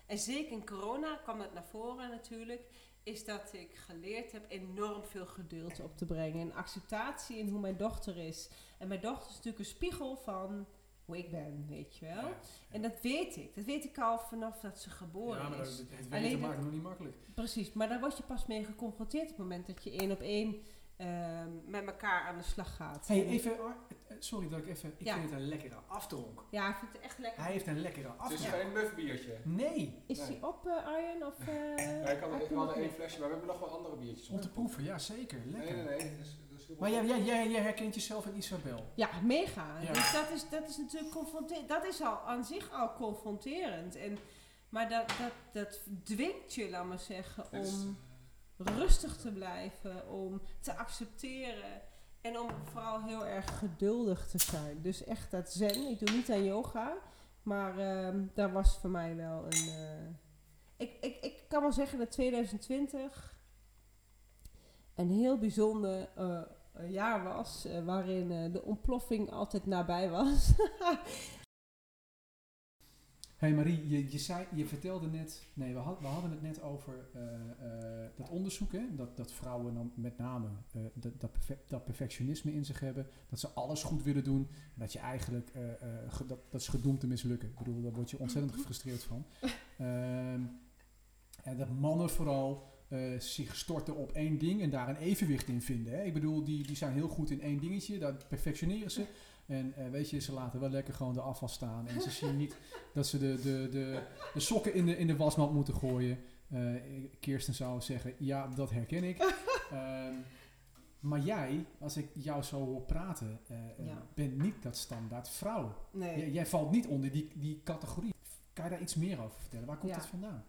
E: en zeker in corona kwam dat naar voren natuurlijk, is dat ik geleerd heb enorm veel geduld op te brengen en acceptatie in hoe mijn dochter is. En mijn dochter is natuurlijk een spiegel van hoe ik ben, weet je wel.
A: Ja.
E: En dat weet ik. Dat weet ik al vanaf dat ze geboren
A: Ja, maar dat,
E: is.
A: het weten
E: Alleen
A: maakt
E: dat-
A: het nog niet makkelijk.
E: Precies, maar daar word je pas mee geconfronteerd op het moment dat je één op één ehm, met elkaar aan de slag gaat.
A: Hey,
E: En-
A: even, Ar- eh, sorry dat ik even, ik
E: Ja.
A: vind het een lekkere aftronk.
E: Ja, ik vind het echt lekker.
A: Hij heeft een lekkere
B: Het is
A: aftronk.
B: geen muffbiertje.
A: Nee,
E: Is
B: Nee.
E: die op, eh, Arjen? Of, eh,
B: Ja, ik had,
E: heb
B: ik
E: je
B: had
E: nog
B: één
E: meer?
B: flesje, maar we hebben nog wel andere biertjes.
A: om te proeven, ja zeker,
B: Nee,
A: lekker.
B: nee, nee. dat is- dat is heel
A: Maar jij,
B: goed.
A: jij, jij, jij herkent jezelf in Isabel.
E: Ja, mega.
A: Ja.
E: Dus dat is, dat is natuurlijk confronterend. Dat is al aan zich al confronterend. En, maar dat, dat, dat dwingt je, laat maar zeggen,
B: Dit is-
E: om rustig te blijven, om te accepteren. En om vooral heel erg geduldig te zijn. Dus echt dat zen. Ik doe niet aan yoga. Maar ehm daar was voor mij wel een. eh, ik, ik, ik kan wel zeggen dat 2020 een heel bijzonder eh, een jaar was. eh, waarin eh, de ontploffing altijd nabij was. [LAUGHS]
A: Hé hey Marie, je, je, zei, je vertelde net, nee, we, had- we hadden het net over eh, eh, dat onderzoek, hè? Dat, dat vrouwen dan met name eh, dat, dat, perfe- dat perfectionisme in zich hebben, dat ze alles goed willen doen, en dat je eigenlijk, eh, eh, ge- dat, dat is gedoemd te mislukken. Ik bedoel, daar word je ontzettend gefrustreerd van. Ehm, en dat mannen vooral eh, zich storten op één ding en daar een evenwicht in vinden. Hè? Ik bedoel, die, die zijn heel goed in één dingetje, dat perfectioneren ze. En eh, weet je, ze laten wel lekker gewoon de afval staan en ze zien niet dat ze de, de, de, de sokken in de, in de wasmand moeten gooien. Eh, Kirsten zou zeggen, ja, dat herken ik. Ehm, Maar jij, als ik jou zo hoor praten, eh, eh,
E: Ja.
A: bent niet dat standaard vrouw.
E: Nee.
A: Jij, jij valt niet onder die, die categorie. Kan je daar iets meer over vertellen? Waar komt
E: Ja.
A: dat vandaan?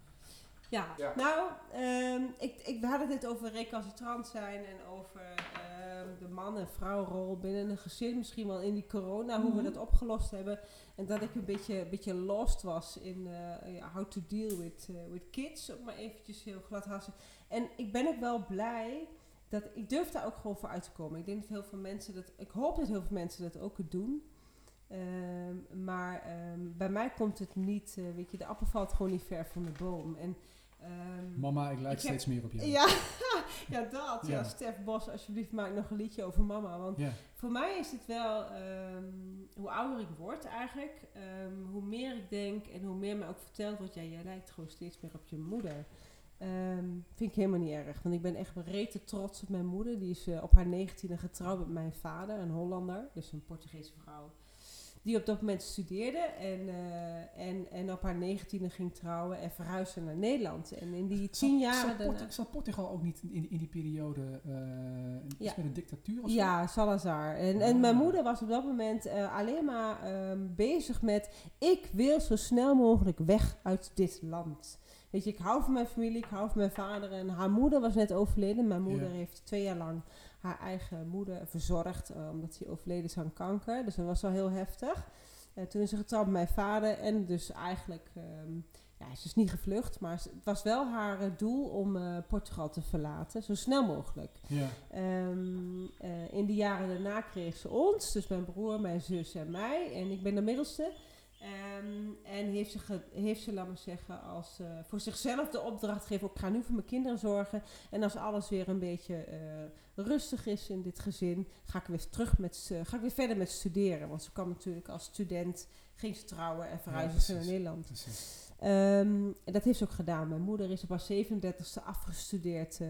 E: Ja,
B: Ja.
E: nou, ehm, ik, ik, we hadden het net over recalcitrant zijn en over ehm, de man- en vrouwrol binnen een gezin. Misschien wel in die corona, hoe we dat opgelost hebben. En dat ik een beetje, een beetje lost was in eh, ja, how to deal with, eh, with kids, om maar eventjes heel glad hassen. En ik ben ook wel blij dat ik durf daar ook gewoon voor uit te komen. Ik denk dat heel veel mensen dat, ik hoop dat heel veel mensen dat ook doen. Ehm, maar ehm, bij mij komt het niet, eh, weet je, de appel valt gewoon niet ver van de boom. En, ehm,
A: Mama, ik lijk
E: Ik heb-
A: steeds meer op jou.
E: ja, [LAUGHS] ja, dat. Ja.
A: Ja.
E: Stef Bos, alsjeblieft maak nog een liedje over mama. Want
A: Ja.
E: voor mij is het wel, ehm, hoe ouder ik word eigenlijk, ehm, hoe meer ik denk en hoe meer me ook verteld wordt, ja, jij lijkt gewoon steeds meer op je moeder. Ehm, vind ik helemaal niet erg, want ik ben echt rete trots op mijn moeder. Die is eh, op haar negentiende getrouwd met mijn vader, een Hollander, dus een Portugese vrouw. Die op dat moment studeerde en, eh, en, en op haar negentiende ging trouwen en verhuisde naar Nederland. En in die
A: Zat-
E: tien jaren
A: zat, Port-
E: daarna...
A: zat Portugal ook niet in, in die periode eh, iets
E: Ja.
A: met een dictatuur of zo?
E: Ja, Salazar. En, en mijn
A: Ah.
E: moeder was op dat moment eh, alleen maar ehm, bezig met... ik wil zo snel mogelijk weg uit dit land. Weet je, ik hou van mijn familie, ik hou van mijn vader. En haar moeder was net overleden. Mijn moeder
A: Ja.
E: heeft twee jaar lang haar eigen moeder verzorgd... eh, omdat ze overleden is aan kanker. Dus dat was wel heel heftig. Eh, toen is ze getrouwd met mijn vader. En dus eigenlijk... ehm, ja, ze is niet gevlucht, maar ze- het was wel haar eh, doel om eh, Portugal te verlaten. Zo snel mogelijk.
A: Ja.
E: Ehm, eh, in de jaren daarna kreeg ze ons, dus mijn broer, mijn zus en mij. En ik ben de middelste. Ehm, en heeft ze, ge- heeft ze, laat maar zeggen, als, eh, voor zichzelf de opdracht gegeven: ik ga nu voor mijn kinderen zorgen. En als alles weer een beetje eh, rustig is in dit gezin, ga ik weer, terug met, ze- ga ik weer verder met studeren. Want ze kwam natuurlijk als student, ging ze trouwen en verhuisde ze naar
A: precies.
E: Nederland.
A: Precies.
E: Ehm, en dat heeft ze ook gedaan. Mijn moeder is op haar 37e afgestudeerd eh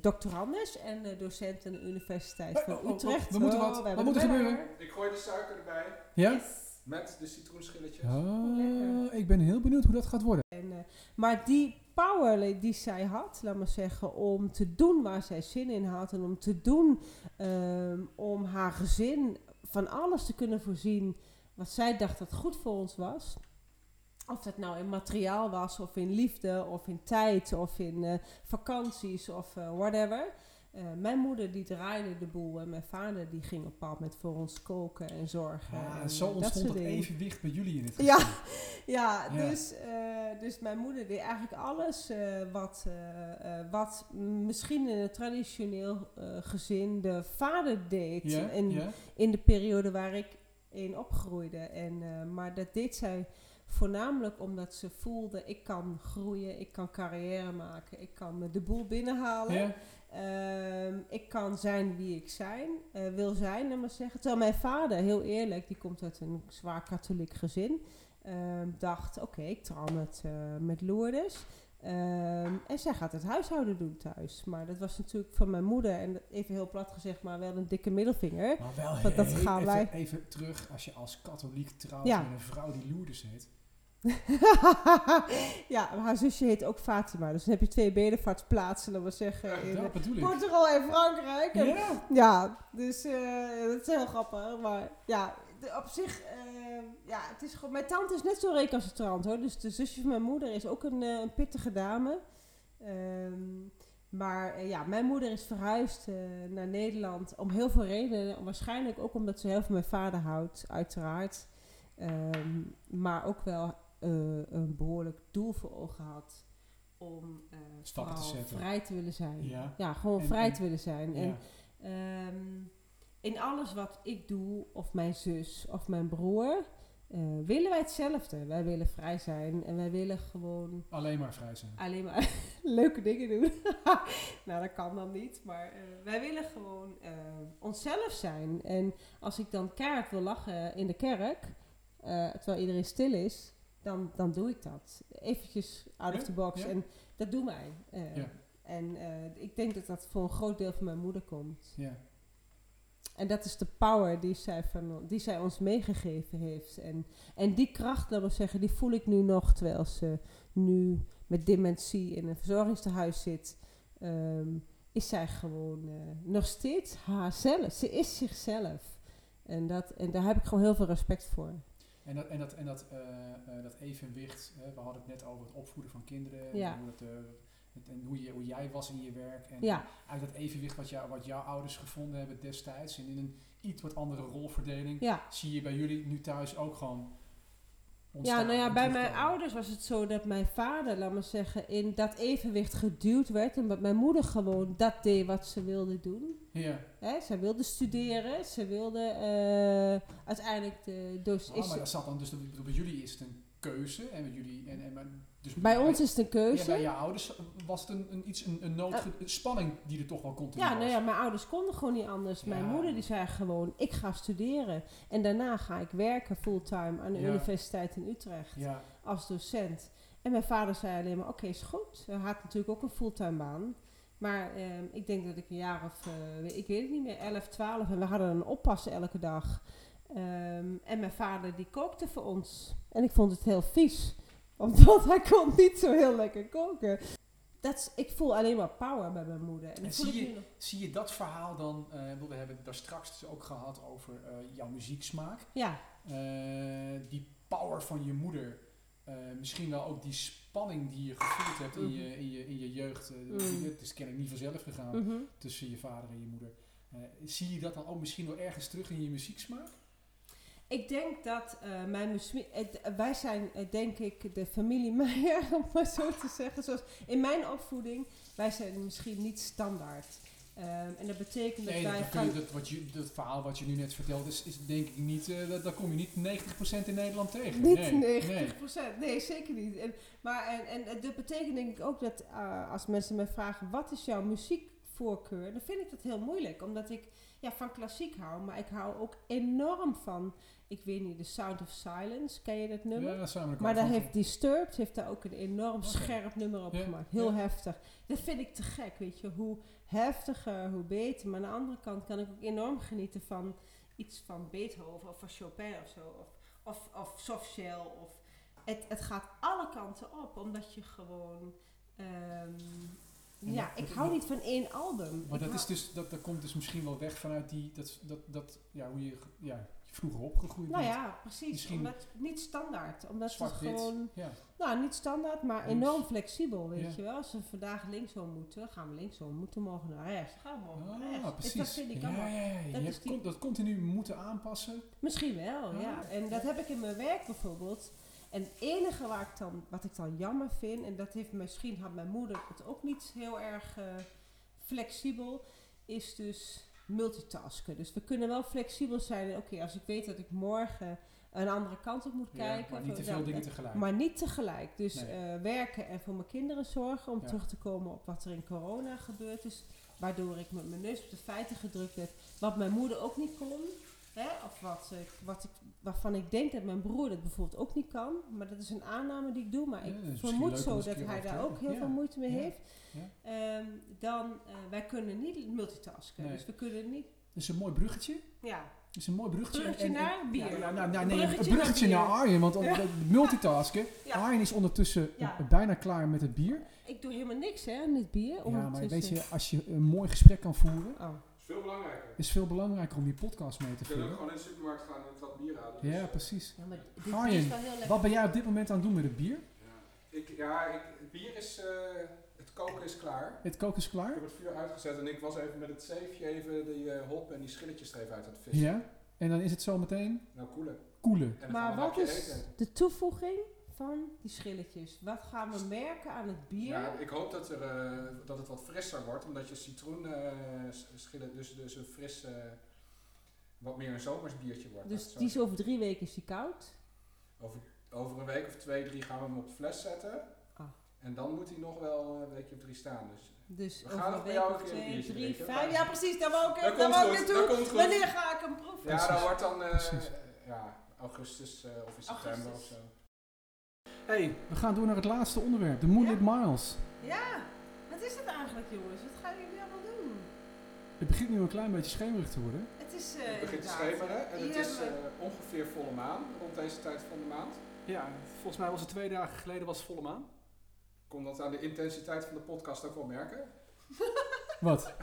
E: doctorandus en eh, docent aan de Universiteit van
A: Oh, oh, oh,
E: Utrecht.
A: we moeten
E: Oh,
A: wat.
E: we
A: Wat
E: hebben
A: moet er
E: het
A: gebeuren?
E: weer.
B: Ik gooi de suiker erbij
A: Ja?
E: Yes.
B: met de citroenschilletjes.
A: Oh,
E: lekker.
A: ik ben heel benieuwd hoe dat gaat worden.
E: En, eh, maar die power die zij had, laat maar zeggen, om te doen waar zij zin in had en om te doen ehm, om haar gezin van alles te kunnen voorzien wat zij dacht dat goed voor ons was. Of dat nou in materiaal was, of in liefde, of in tijd, of in eh, vakanties, of eh, whatever. Eh, mijn moeder die draaide de boel en mijn vader die ging op een bepaald moment voor ons koken en zorgen.
A: Ja,
E: en,
A: Ah, zo
E: eh, dat
A: ontstond
E: soort
A: het
E: dingen.
A: evenwicht bij jullie in het
E: Ja,
A: gezin.
E: ja,
A: Ja.
E: Dus, eh, dus mijn moeder deed eigenlijk alles eh, wat, eh, eh, wat misschien in een traditioneel eh, gezin de vader deed.
A: Ja,
E: in,
A: ja.
E: in de periode waar ik in opgroeide. En, eh, maar dat deed zij voornamelijk omdat ze voelde: ik kan groeien, ik kan carrière maken, ik kan eh, de boel binnenhalen.
A: Ja.
E: Ehm, ik kan zijn wie ik zijn, eh, wil zijn, laat maar zeggen. Terwijl mijn vader, heel eerlijk, die komt uit een zwaar katholiek gezin, ehm, dacht: oké, ik trouw met, eh, met Lourdes. Ehm, en zij gaat het huishouden doen thuis. Maar dat was natuurlijk van mijn moeder, en dat- even heel plat gezegd, maar wel een dikke middelvinger. [LAUGHS]
A: Maar wel
E: Want dat
A: heel-
E: gaan
A: even,
E: wij-
A: even terug, als je als katholiek trouwt
E: Ja.
A: met een vrouw die Lourdes heet.
E: ja, maar haar zusje heet ook Fatima. Dus dan heb je twee bedevaartsplaatsen, laten we zeggen, in
A: dat
E: eh,
A: bedoel ik.
E: Portugal en Frankrijk. En
A: Ja.
E: Ja, dus eh, dat is heel grappig. Maar ja, de- op zich, eh, ja, het is gewoon. Mijn tante is net zo recalcitrant hoor. Dus de zusje van mijn moeder is ook een, eh, een pittige dame. Ehm, maar eh, ja, mijn moeder is verhuisd eh, naar Nederland om heel veel redenen. Waarschijnlijk ook omdat ze heel veel van mijn vader houdt, uiteraard. Ehm, maar ook wel eh, een behoorlijk doel voor ogen had om eh,
A: Stappen te
E: vooral
A: zetten.
E: vrij te willen zijn.
A: Ja.
E: gewoon
A: En-
E: vrij
A: en-
E: te willen zijn. En
A: Ja.
E: Ehm, in alles wat ik doe, of mijn zus of mijn broer, eh, willen wij hetzelfde. Wij willen vrij zijn en wij willen gewoon
A: Alleen maar vrij zijn.
E: alleen maar [LAUGHS] leuke dingen doen. [LAUGHS] nou, dat kan dan niet, maar eh, wij willen gewoon eh, onszelf zijn. En als ik dan keihard wil lachen in de kerk, eh, terwijl iedereen stil is, dan, dan doe ik dat. Eventjes out of
A: Ja,
E: the box.
A: ja.
E: En dat doen wij. eh.
A: Ja.
E: En eh, ik denk dat dat voor een groot deel van mijn moeder komt.
A: Ja.
E: En dat is de power die zij, van, die zij ons meegegeven heeft. En, en die kracht, laat maar zeggen, die voel ik nu nog. Terwijl ze nu met dementie in een verzorgingstehuis zit. Ehm, is zij gewoon eh, nog steeds haarzelf. Ze is zichzelf. En, dat, en daar heb ik gewoon heel veel respect voor.
A: En dat, en dat, en dat, eh, eh, dat evenwicht, hè, we hadden het net over het opvoeden van kinderen.
E: Ja.
A: En, hoe, dat, eh, het- en hoe, je, hoe jij was in je werk. En
E: Ja,
A: uit dat evenwicht wat, jou, wat jouw ouders gevonden hebben destijds. En in een iets wat andere rolverdeling.
E: ja.
A: Zie je bij jullie nu thuis ook gewoon
E: Ja,
A: ontstaan
E: nou ja,
A: en
E: bij mijn
A: terugkomen.
E: ouders was het zo dat mijn vader, laat maar zeggen, in dat evenwicht geduwd werd. En dat mijn moeder gewoon dat deed wat ze wilde doen.
A: Ja.
E: Hè, zij wilde studeren, ze wilde eh, uiteindelijk de dus
A: Oh, maar dat zat dan dus, ik bedoel, bij jullie is het een keuze. En bij jullie, en, en, maar- dus
E: Bij ons is het een
A: Ja,
E: keuze. Eh.
A: bij je ouders was het een, een, iets, een, een nood, een spanning die er toch wel continu
E: Ja,
A: was.
E: nou ja, mijn ouders konden gewoon niet anders. Mijn
A: Ja.
E: moeder die zei gewoon, ik ga studeren. En daarna ga ik werken fulltime aan de
A: Ja.
E: universiteit in Utrecht
A: Ja,
E: als docent. En mijn vader zei alleen maar, oké, is goed. Hij had natuurlijk ook een fulltime baan. Maar ehm, ik denk dat ik een jaar of, eh, ik weet het niet meer, 11, 12. En we hadden een oppassen elke dag. Ehm, en mijn vader die kookte voor ons. En ik vond het heel vies. [LAUGHS] Omdat hij kon niet zo heel lekker koken. Dat is, ik voel alleen maar power bij mijn moeder. En, dat
A: En
E: voel
A: zie
E: ik
A: je-
E: nu nog.
A: Zie je dat verhaal dan, eh, ik bedoel, we hebben het daar straks dus ook gehad over eh, jouw muzieksmaak.
E: Ja,
A: Eh, die power van je moeder. eh, misschien wel ook die spanning die je gevoeld hebt in je, in je, in je jeugd. eh,
E: Mhm.
A: Het is kennelijk niet vanzelf gegaan
E: mhm.
A: tussen je vader en je moeder. Eh, zie je dat dan ook misschien wel ergens terug in je muzieksmaak?
E: Ik denk dat eh, mijn muzie- het- wij zijn eh, denk ik de familie Meijer, [LAUGHS] om maar zo te zeggen. Zoals in mijn opvoeding, wij zijn misschien niet standaard. Ehm, en dat betekent dat
A: Nee,
E: wij
A: dat,
E: van...
A: dat, dat, wat je, dat verhaal wat je nu net vertelt is, is denk ik niet, eh, dat, daar kom je niet 90% in Nederland tegen.
E: Niet
A: nee,
E: 90
A: nee.
E: procent. Nee, zeker niet. En, maar en, en eh, dat betekent denk ik ook dat eh, als mensen mij vragen wat is jouw muziekvoorkeur, dan vind ik dat heel moeilijk. Omdat ik ja, van klassiek hou, maar ik hou ook enorm van, ik weet niet, The Sound of Silence. Ken je dat nummer?
A: Ja, samen
E: Maar daar
A: van-
E: heeft Disturbed heeft daar ook een enorm
A: Oké.
E: scherp nummer op
A: Ja,
E: gemaakt. Heel
A: ja.
E: heftig. Dat vind ik te gek, weet je. Hoe heftiger, hoe beter. Maar aan de andere kant kan ik ook enorm genieten van iets van Beethoven of van Chopin of zo. Of, of, of Softshell. Of het, het gaat alle kanten op, omdat je gewoon... ehm,
A: En
E: ja,
A: dat-
E: ik
A: dat-
E: hou
A: dat-
E: niet van één album.
A: Maar
E: Ik
A: dat,
E: hou-
A: is dus, dat, dat komt dus misschien wel weg vanuit die, dat, dat, dat, ja, hoe je, ge- ja, je vroeger opgegroeid
E: Nou
A: bent.
E: ja, precies.
A: Misschien-
E: Omdat, niet standaard. Omdat het
A: Zwart-wit.
E: gewoon...
A: Ja.
E: Nou, niet standaard, maar
A: Links.
E: enorm flexibel, weet
A: Ja.
E: je wel. Als we vandaag linksom moeten, gaan we linksom. Moeten we morgen naar rechts, gaan we morgen
A: Ah,
E: naar rechts. Dus
A: precies.
E: dat vind ik
A: ja,
E: allemaal.
A: ja, ja. Je
E: Dat
A: hebt
E: is die-
A: con- dat continu moeten aanpassen.
E: Misschien wel,
A: Ah,
E: ja. En dat heb ik in mijn werk bijvoorbeeld. En het enige waar ik dan, wat ik dan jammer vind, en dat heeft misschien had mijn moeder het ook niet heel erg eh, flexibel, is dus multitasken. Dus we kunnen wel flexibel zijn. Oké, als ik weet dat ik morgen een andere kant op moet
A: Ja,
E: kijken.
A: maar niet te
E: of-
A: veel
E: nou,
A: dingen
E: dat-
A: tegelijk.
E: Maar niet tegelijk. Dus
A: Nee.
E: eh, werken en voor mijn kinderen zorgen om
A: Ja.
E: terug te komen op wat er in corona gebeurd is. Waardoor ik met mijn neus op de feiten gedrukt werd. Wat mijn moeder ook niet kon. Hè? Of wat, ik- wat ik, waarvan ik denk dat mijn broer dat bijvoorbeeld ook niet kan. Maar dat is een aanname die ik doe. Maar
A: Ja,
E: ik
A: dat is misschien leuk
E: vermoed
A: om
E: zo
A: eens een
E: dat
A: keer
E: hij
A: over te
E: daar ook
A: hebben.
E: heel
A: Ja.
E: veel moeite mee
A: Ja.
E: heeft.
A: Ja.
E: Ehm, dan, eh, wij kunnen niet multitasken.
A: Nee.
E: Dus we kunnen niet...
A: Dat is een mooi bruggetje.
E: Ja,
A: Dat is een mooi bruggetje.
E: Bruggetje naar bier.
A: Ja, nou, nou, nou, nee,
E: Bruggetje
A: een bruggetje
E: naar
A: naar,
E: bier.
A: Arjen. Want om-
E: Ja.
A: dat- multitasken.
E: [LAUGHS] Ja.
A: Arjen is ondertussen
E: Ja.
A: bijna klaar met het bier.
E: ik doe helemaal niks hè, aan dit bier.
A: Ja, maar weet
E: ondertussen.
A: je, als je een mooi gesprek kan voeren,
E: Oh.
B: is veel belangrijker.
A: is veel belangrijker om die podcast mee te
B: Je kunt ook
A: vullen.
B: gewoon in de supermarkt gaan en een trap bier halen. dus,
A: Ja,
B: eh,
A: precies.
E: Ja, maar dit
A: Arjen,
E: is wel heel lekker.
A: Wat ben jij op dit moment aan het doen met het bier?
B: ja. Ik, ja, ik, het bier is, eh, het koken is klaar.
A: Het koken is
B: Ik
A: klaar?
B: heb het vuur uitgezet en ik was even met het zeefje even die eh, hop en die schilletjes er even uit aan het vissen.
A: Ja. En dan is het zo meteen
B: Nou, koelen.
A: koelen.
B: En dan gaan
E: Maar
B: we een
E: wat
B: hapje
E: is
B: eten.
E: de toevoeging van die schilletjes? Wat gaan we merken aan het bier?
B: Ja, ik hoop dat, er, eh, dat het wat frisser wordt, omdat je citroen eh, s- schillen, dus, dus een fris, eh, wat meer een zomers biertje wordt.
E: dus
B: Dat
E: die is over drie weken is die koud.
B: Over, over een week of twee, drie gaan we hem op de fles zetten.
E: Ah.
B: En dan moet hij nog wel eh, een weekje of drie staan. Dus.
E: Dus
B: We
E: over
B: gaan
E: een
B: nog bij
E: week
B: jou
E: of
B: een keer een
E: twee,
B: biertje
E: drie,
B: drinken.
E: vijf. Ja, precies, daar wou ik,
B: Dat
E: daar
B: komt
E: wou ik
B: goed, dat
E: naartoe.
B: komt goed.
E: Wanneer ga ik hem
B: Ja,
E: proeven?
A: Precies.
B: dan wordt dan eh,
A: Precies.
B: ja, augustus eh, of in september of
E: Augustus.
B: zo.
A: Hey, we gaan door naar het laatste onderwerp, de Moonlit Miles.
E: Ja, wat is het eigenlijk jongens? Wat gaan jullie allemaal doen?
A: Het begint nu een klein beetje schemerig te worden.
E: Het is eh
B: Het begint te
E: inderdaad,
B: schemeren en
E: hier
B: het is
E: hebben we-
B: eh, ongeveer volle maan, rond deze tijd van de maand.
A: Ja, volgens mij was het twee dagen geleden was volle maan.
B: Ik kon dat aan de intensiteit van de podcast ook wel merken.
A: Wat?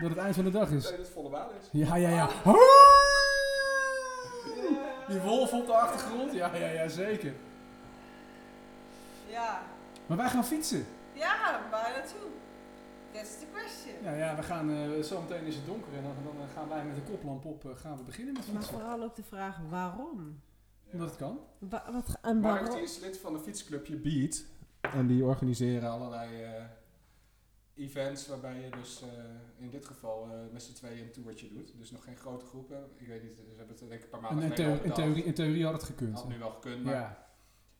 A: Dat het eind van de dag
B: dat
A: is.
B: het volle baan is.
A: Ja, ja, ja. Die wolf op de achtergrond. Ja, ja, ja, zeker.
E: Ja.
A: Maar wij gaan fietsen.
E: Ja, waar naartoe? That's the question.
A: Ja, ja, we gaan, eh, zometeen is het donker en dan, dan eh, gaan wij met de koplamp op eh, gaan we beginnen met
J: Maar
A: fietsen.
J: vooral ook de vraag waarom?
A: Omdat het kan.
J: Wa- wat, ga- en
B: Mark
J: waarom?
B: die is lid van een fietsclubje Beat.
F: En die organiseren
B: Er allerlei eh, events waarbij je dus eh, in dit geval eh, met z'n tweeën een toertje doet. Dus nog geen grote groepen. Ik weet niet, ze hebben het denk ik een paar
A: En
B: maanden
A: in,
B: geleden
A: theo-
B: al
A: in,
B: bedacht.
A: theorie, in theorie had het gekund.
B: Had nu wel gekund, maar
A: Ja.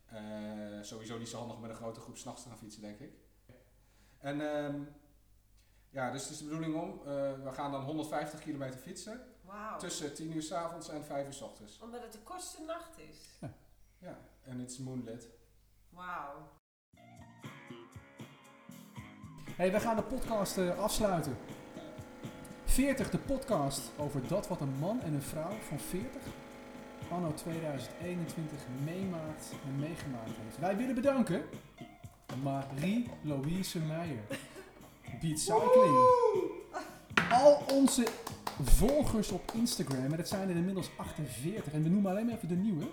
B: eh, sowieso niet zo handig met een grote groep s'nachts te gaan fietsen, denk ik. En ehm, ja, dus het is de bedoeling om, eh, we gaan dan 150 kilometer fietsen
E: Wauw.
B: tussen 10 uur s avonds en 5 uur s ochtends.
E: Omdat het de kortste nacht is.
B: Ja, en het is moonlit.
E: Wauw.
A: Hey, wij gaan de podcast eh, afsluiten. 40, de podcast over dat wat een man en een vrouw van 40 anno 2021 meemaakt en meegemaakt heeft. Wij willen bedanken Marie-Louise Meijer, Beat Cycling, al onze volgers op Instagram, en dat zijn er inmiddels 48, en we noemen alleen maar even de nieuwe,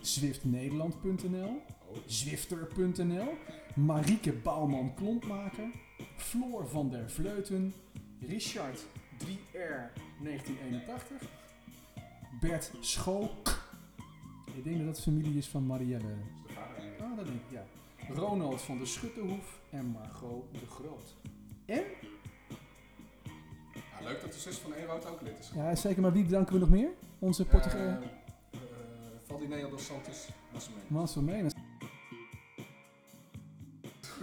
A: zwiftnederland.nl, zwifter.nl, Marieke Bouwman Klontmaker, Floor van der Vleuten, Richard 3R 1981, Bert Schook. Ik denk dat dat familie is van Marielle.
B: dus
A: Ah, dat denk ik, ja. Ronald van der Schuttenhoef en Margot de Groot.
B: Ja, leuk dat de zus van Ewout ook lid is.
A: Ja, zeker. Maar wie bedanken we nog meer? Onze
B: Eh,
A: pottige
B: eh, Valdineo dos Santos was mee.
A: Mans van Menes.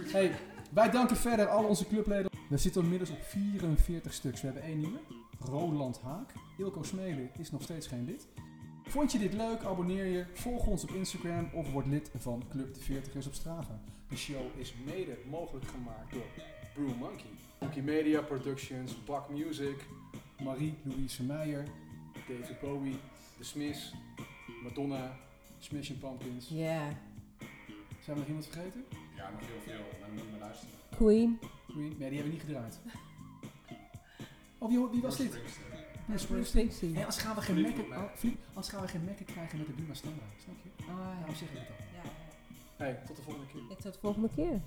A: Hey, wij danken verder al onze clubleden. We zitten inmiddels op 44 stuks. We hebben één nieuwe. Roland Haak. Ilko Smelen is nog steeds geen lid. Vond je dit leuk? Abonneer je. Volg ons op Instagram of word lid van Club de 40ers op Strava. De show is mede mogelijk gemaakt door Brew Monkey. Monkey Media Productions, Bak Music, Marie-Louise Meijer, David Bowie, The Smiths, Madonna, Smash Pumpkins.
J: Ja.
A: Zijn we nog iemand vergeten?
B: Ja, nog heel veel, maar dan moet je maar luisteren.
J: Queen.
A: Queen? Nee, die hebben we niet gedraaid. Of joh, wie was
B: Bruce
A: dit?
B: Springsteen.
A: Bruce Springsteen. Nee,
J: Springsteen.
A: anders gaan we geen
B: Fleetwood
A: mekken,
B: Mac.
A: oh, Fleet- anders gaan we geen mekken krijgen met de Buma Stemra. Snap je?
J: Ah,
A: Daarom zeg ik het al.
E: Ja, ja.
A: Hey, tot de volgende keer.
J: ja. Tot de volgende keer.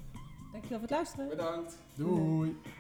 J: Dankjewel voor het luisteren.
B: Bedankt.
A: Doei!